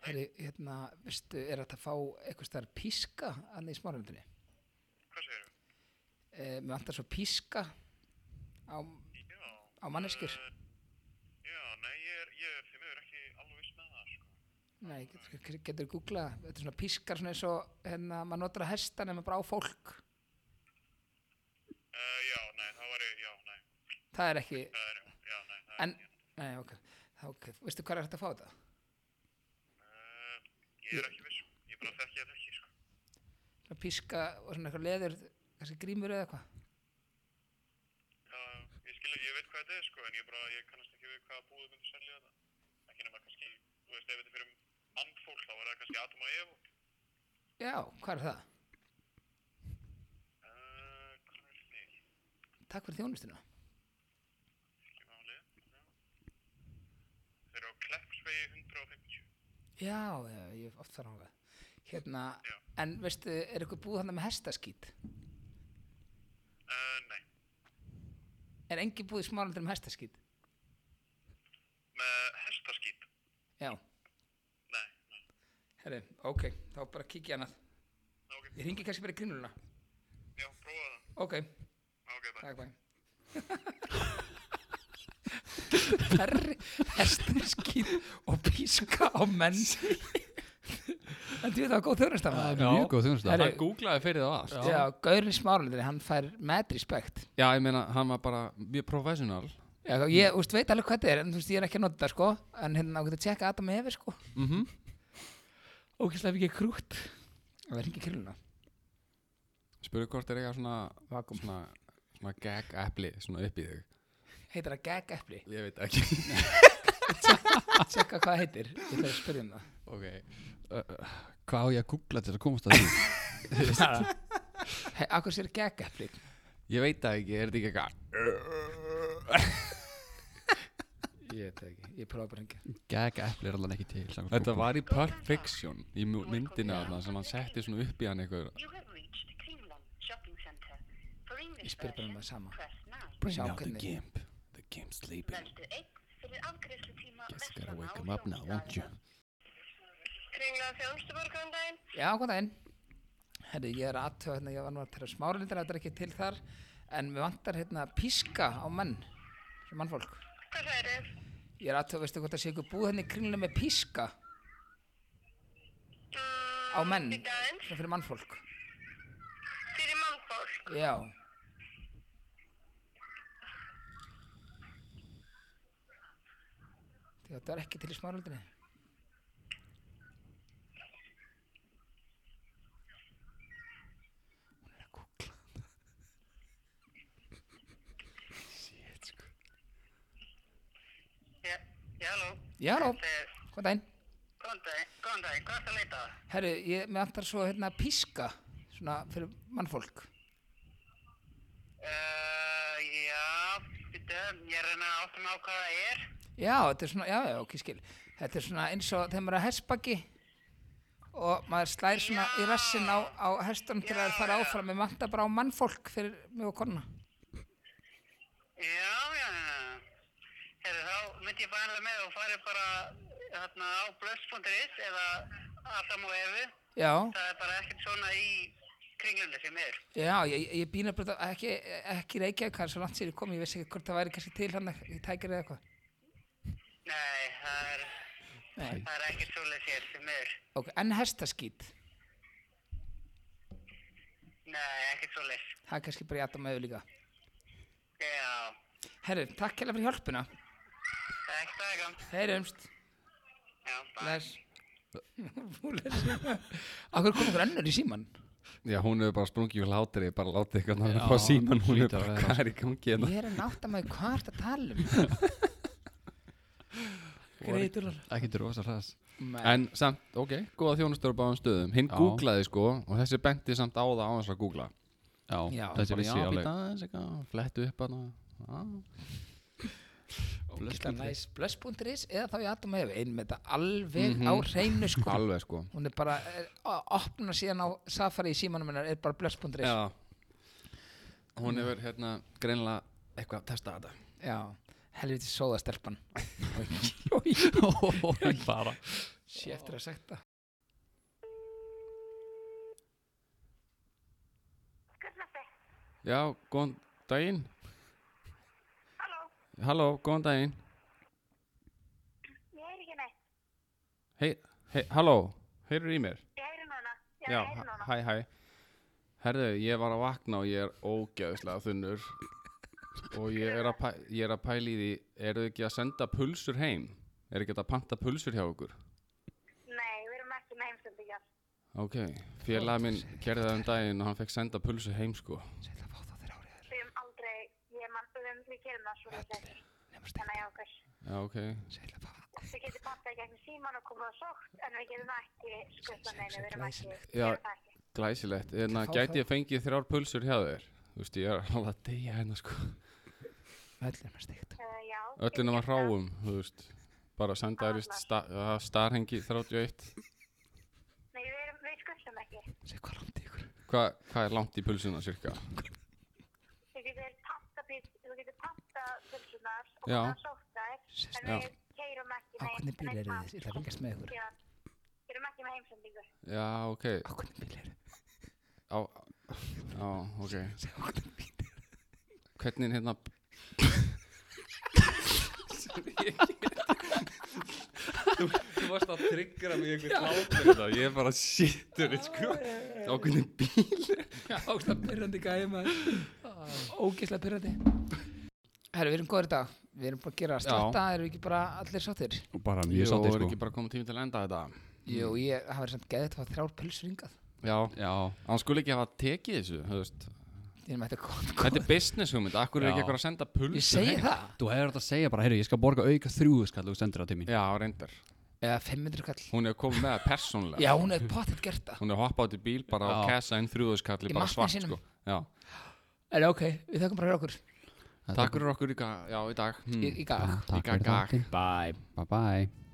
Herri, hérna, veistu, er þetta að fá eitthvað stær píska annað í smáralundinni? Hvað segir þú? Eh, mér vantar svo píska á, Já. eh, á manneskjur Já, nei, ég er, ég er fyrir mér ekki alveg viss með það, sko. Nei, getur, getur googlað það? Þetta er svona pískar svona eins og hérna, maður notar að hesta nema bara á fólk Uh, já, nei, það var ég, já, nei, Það er ekki, það er, já, nei, það en Nei, ok, þá, ok, veistu hvað er þetta að fá þetta? er, uh, ég er ekki viss, sko. ég bara þekki þetta ekki, sko. Svona píska og svona eitthvað leður kannski grímur eða eitthvað Já, ég skilja, ég veit hvað þetta er, sko, en ég bara, ég kannast ekki við hvað búðu myndi selja þetta. Ekki nema kannski, þú veist, ef þetta er fyrir mannfólk, þá var það kannski Atom og Evo. Já, hvað er það? Uh, hvað er þetta ekki? Takk fyrir þjónustuna Ekki máli. já. Þeir eru á Kleppsvegi 150. Já, já, ég hef oft þar ángað Hérna, Já. en veistu, er eitthvað búið þannig með hestaskít? Uh, nei, Er engin búið smálandur með hestaskít? með hestaskýt. Já, Nei, nei, herri, ok, þá bara kíkja annað ok, Ég ringi kannski bara í grínuluna já, prófa það. Ok, Ok, bye. takk bæ Herri, hestaskít og píska á menn En þú veit það var góð þjónustafa Það er mjög góð Herri, þjónusta Hann googlaði fyrir það allt Já, Gaurin Smáraldur, hann fær með respekt Já, ég meina, hann var bara mjög professional Já, þá- ég úst, veit alveg hvað þetta er en þú veist, ég er ekki að nota þetta sko en hérna, þú getur að tjekka að Adam hefur sko mm -hmm. Ókvæslega mikið krútt Það er ekki krilluna Spurðu hvort er eitthvað svona, Vakum. svona, svona gag appli, svona upp í þig Heitir það gag eppli? Ég veit ekki Tjekka hvað það heitir Ég ætla að spyrja um það Ok Hvað á ég að googla til þess að komast að því? hey, Akkur sér gag eppli? Ég veit það ekki, er þetta ekki eitthvað Ég veit það ekki, ég prófa bara hengja Gag Apple er allan ekki til samkvæmt Þetta Google. var í Pulp Fiction Í mu- myndina þarna sem hann setti svona upp í hann eitthvað You have reached Kringlan Shopping Center. For English Ég spyr bara um það sama. press 9. Bring out the gimp The gimp sleeping Veldu einn fyrir afgreiðslutíma Guess gotta wake him up now, won't you? Kringla þjónustuborgundaginn. Já, hvað það einn Herri, ég er aðtöð hérna, ég var nú að tala smáralindar þetta er ekki til þar en við vantar hérna píska á menn sem mannfólk Hvað það eru? Ég er aðtöð, veistu hvort það sé ykkur búið henni kringlega með píska á menn Mm, Daginn svona fyrir mannfólk fyrir mannfólk. Já, Því að Þetta er ekki til í smáraldinni Hún er að kúkla Já, já, halló. Já, halló. Þetta er- Hvað daginn? Góðan daginn, góðan daginn, hvað ertu að leita að? Herru, ég með antar svo hérna píska svona fyrir mannfólk Uh, já, býttu, ég er að reyna að átta mig á hvað það er. Já, þetta er svona, já, já, ok, skil Þetta er svona eins og þegar maður er að hestbaki og maður slær svona í rassin á, á hestunum til að fara áfram Mér vantar bara á mannfólk fyrir mig og konuna Já, já, já. Herru, þá myndi ég bara með og farið bara hérna á blöss.is eða Adam og Evu já, Það er bara ekkert svona í kringlunni sem er. já, ég, ég býna bara þetta- ekki, ekki reykja, hvað er svo langt sér ég kom, ég vissi ekki hvort það væri kannski til hann, ég tækir eða eitthvað. Nei, það er, Nei, það er ekkert svona hér sem er. ok, en hestaskít, Nei, ekkert svona. það er kannski bara í Adam og Evu líka. Já, Herru, takk hella fyrir hjálpuna, það er ekkert aðeins. heyrumst, Já, bara. les. Akkur kom ykkur önnur í síman? Já, hún hefur bara sprungið við hlátri, bara látið eitthvað hann Já, upp á síman, hún er hlýtur að bara, vera. hvað er í gangi hérna? Ég er að nátt að maður hvað er að tala um? Greitur alveg. Ekki til rosa hræðs Nei. En samt, ok, góða þjónustur á báðum stöðum. Hinn Já. googlaði sko og þessi benti samt á það á hans að googla. Já, Já, þessi Bara, vissi já, alveg býta aðeins eitthvað, flettu upp hana. Já. Ógeðslega næs. Blöss.is eða þá í Adam og Evu inn með þetta alveg á hreinu sko Alveg sko. hún er bara er, að opna síðan á safari í símanum hennar er bara blöss.is já. Já. Hún hefur hérna greinlega eitthvað að testa þetta. já, helviti sóðastelpan Bara sé eftir að hafa sagt það Já, góðan daginn. Halló, Halló, góðan daginn. ég er ekki neitt. Hei, hei, halló, heyrður í mér? Ég er núna. Já, hæ, hæ. Herðu, ég var að vakna og ég er ógæðislega þunnur og ég er, að pæ, ég er að pæla í því, eru þið ekki að senda pulsur heim? Er ekki hægt að panta pulsur hjá okkur? Nei, við erum ekki með heimsendingar. Ok, félag minn gerði það um daginn og hann fekk senda pulsur heim sko. Sæll að fá þá þeirra árið Við erum aldrei, ég mann, við erum við gerum það svo þessi. nema Þannig að ég okkur. Já, ok. Sæll að fá Við getum pantað í gegnum síman og komið á sótt, en við getum ekki skuttað neina, við erum ekki. Glæsilegt. Já. Glæsilegt. við gerum það ekki. En Fá gæti það. ég fengið þrjár pulsur hjá þér? Þú veist, ég er alveg að deyja hérna sko. öllum að stíkt Uh, já, við Öllin að maður getum það. ráum, þú veist. Bara senda þér í sta, ja, starhengi 31. Nei, við, erum- við skuldum ekki. sé hvað langt í ykkur Hva, hvað er langt í pulsuna cirka? Þú getur panta bít, þú getur panta bílsunar og Já. það sóttar, en Já. við keirum ekki á hvernig bíl eru þið, ég ætla að ringast með ykkur Já, við erum ekki með heimsendingu. Já, ok. á hvernig bíl eru þið, Á, á, ok. segja á hvernig bíl eru þið Hvernig hérna Þú varst að tryggra mig einhvern hlátur þetta Ég er bara shittur sko. Á hvernig bíl Ógæslega pyrrandi gæði maður Ógæslega pyrrandi Herru, við erum góður í dag Við erum bara að gera að Já. slatta, erum við ekki bara allir sáttir Og bara Ég mjög sáttir sáttir sko ekki sko bara komið tími til að enda þetta Jú, ég hafa verið samt geðið að það þrjár pulsur hingað Já, Já, hann skulle ekki hafa tekið þessu þú veist. Ég er með þetta gott Þetta er business hugmynd, akkur er Já. ekki eitthvað að senda pulsur Ég segi heim? það þú hefur þetta að segja bara, heyrðu, ég skal borga auka þrjúðu skall og þú sendir það til mín Já, reyndar Eða 500 kall Hún hefur komið með það persónlega Já, hún hefði pottet gert það Hún hefur hoppað út í bíl bara á Já. kessa inn þrjúðuskalli Í bara matnum svart sínum. sko. Já, En ok, við þökkum bara fyrir okkur Mm. takk fyrir okkur í, ga- já, í dag Hmm. í, í dag Í dag. Bye Bye bye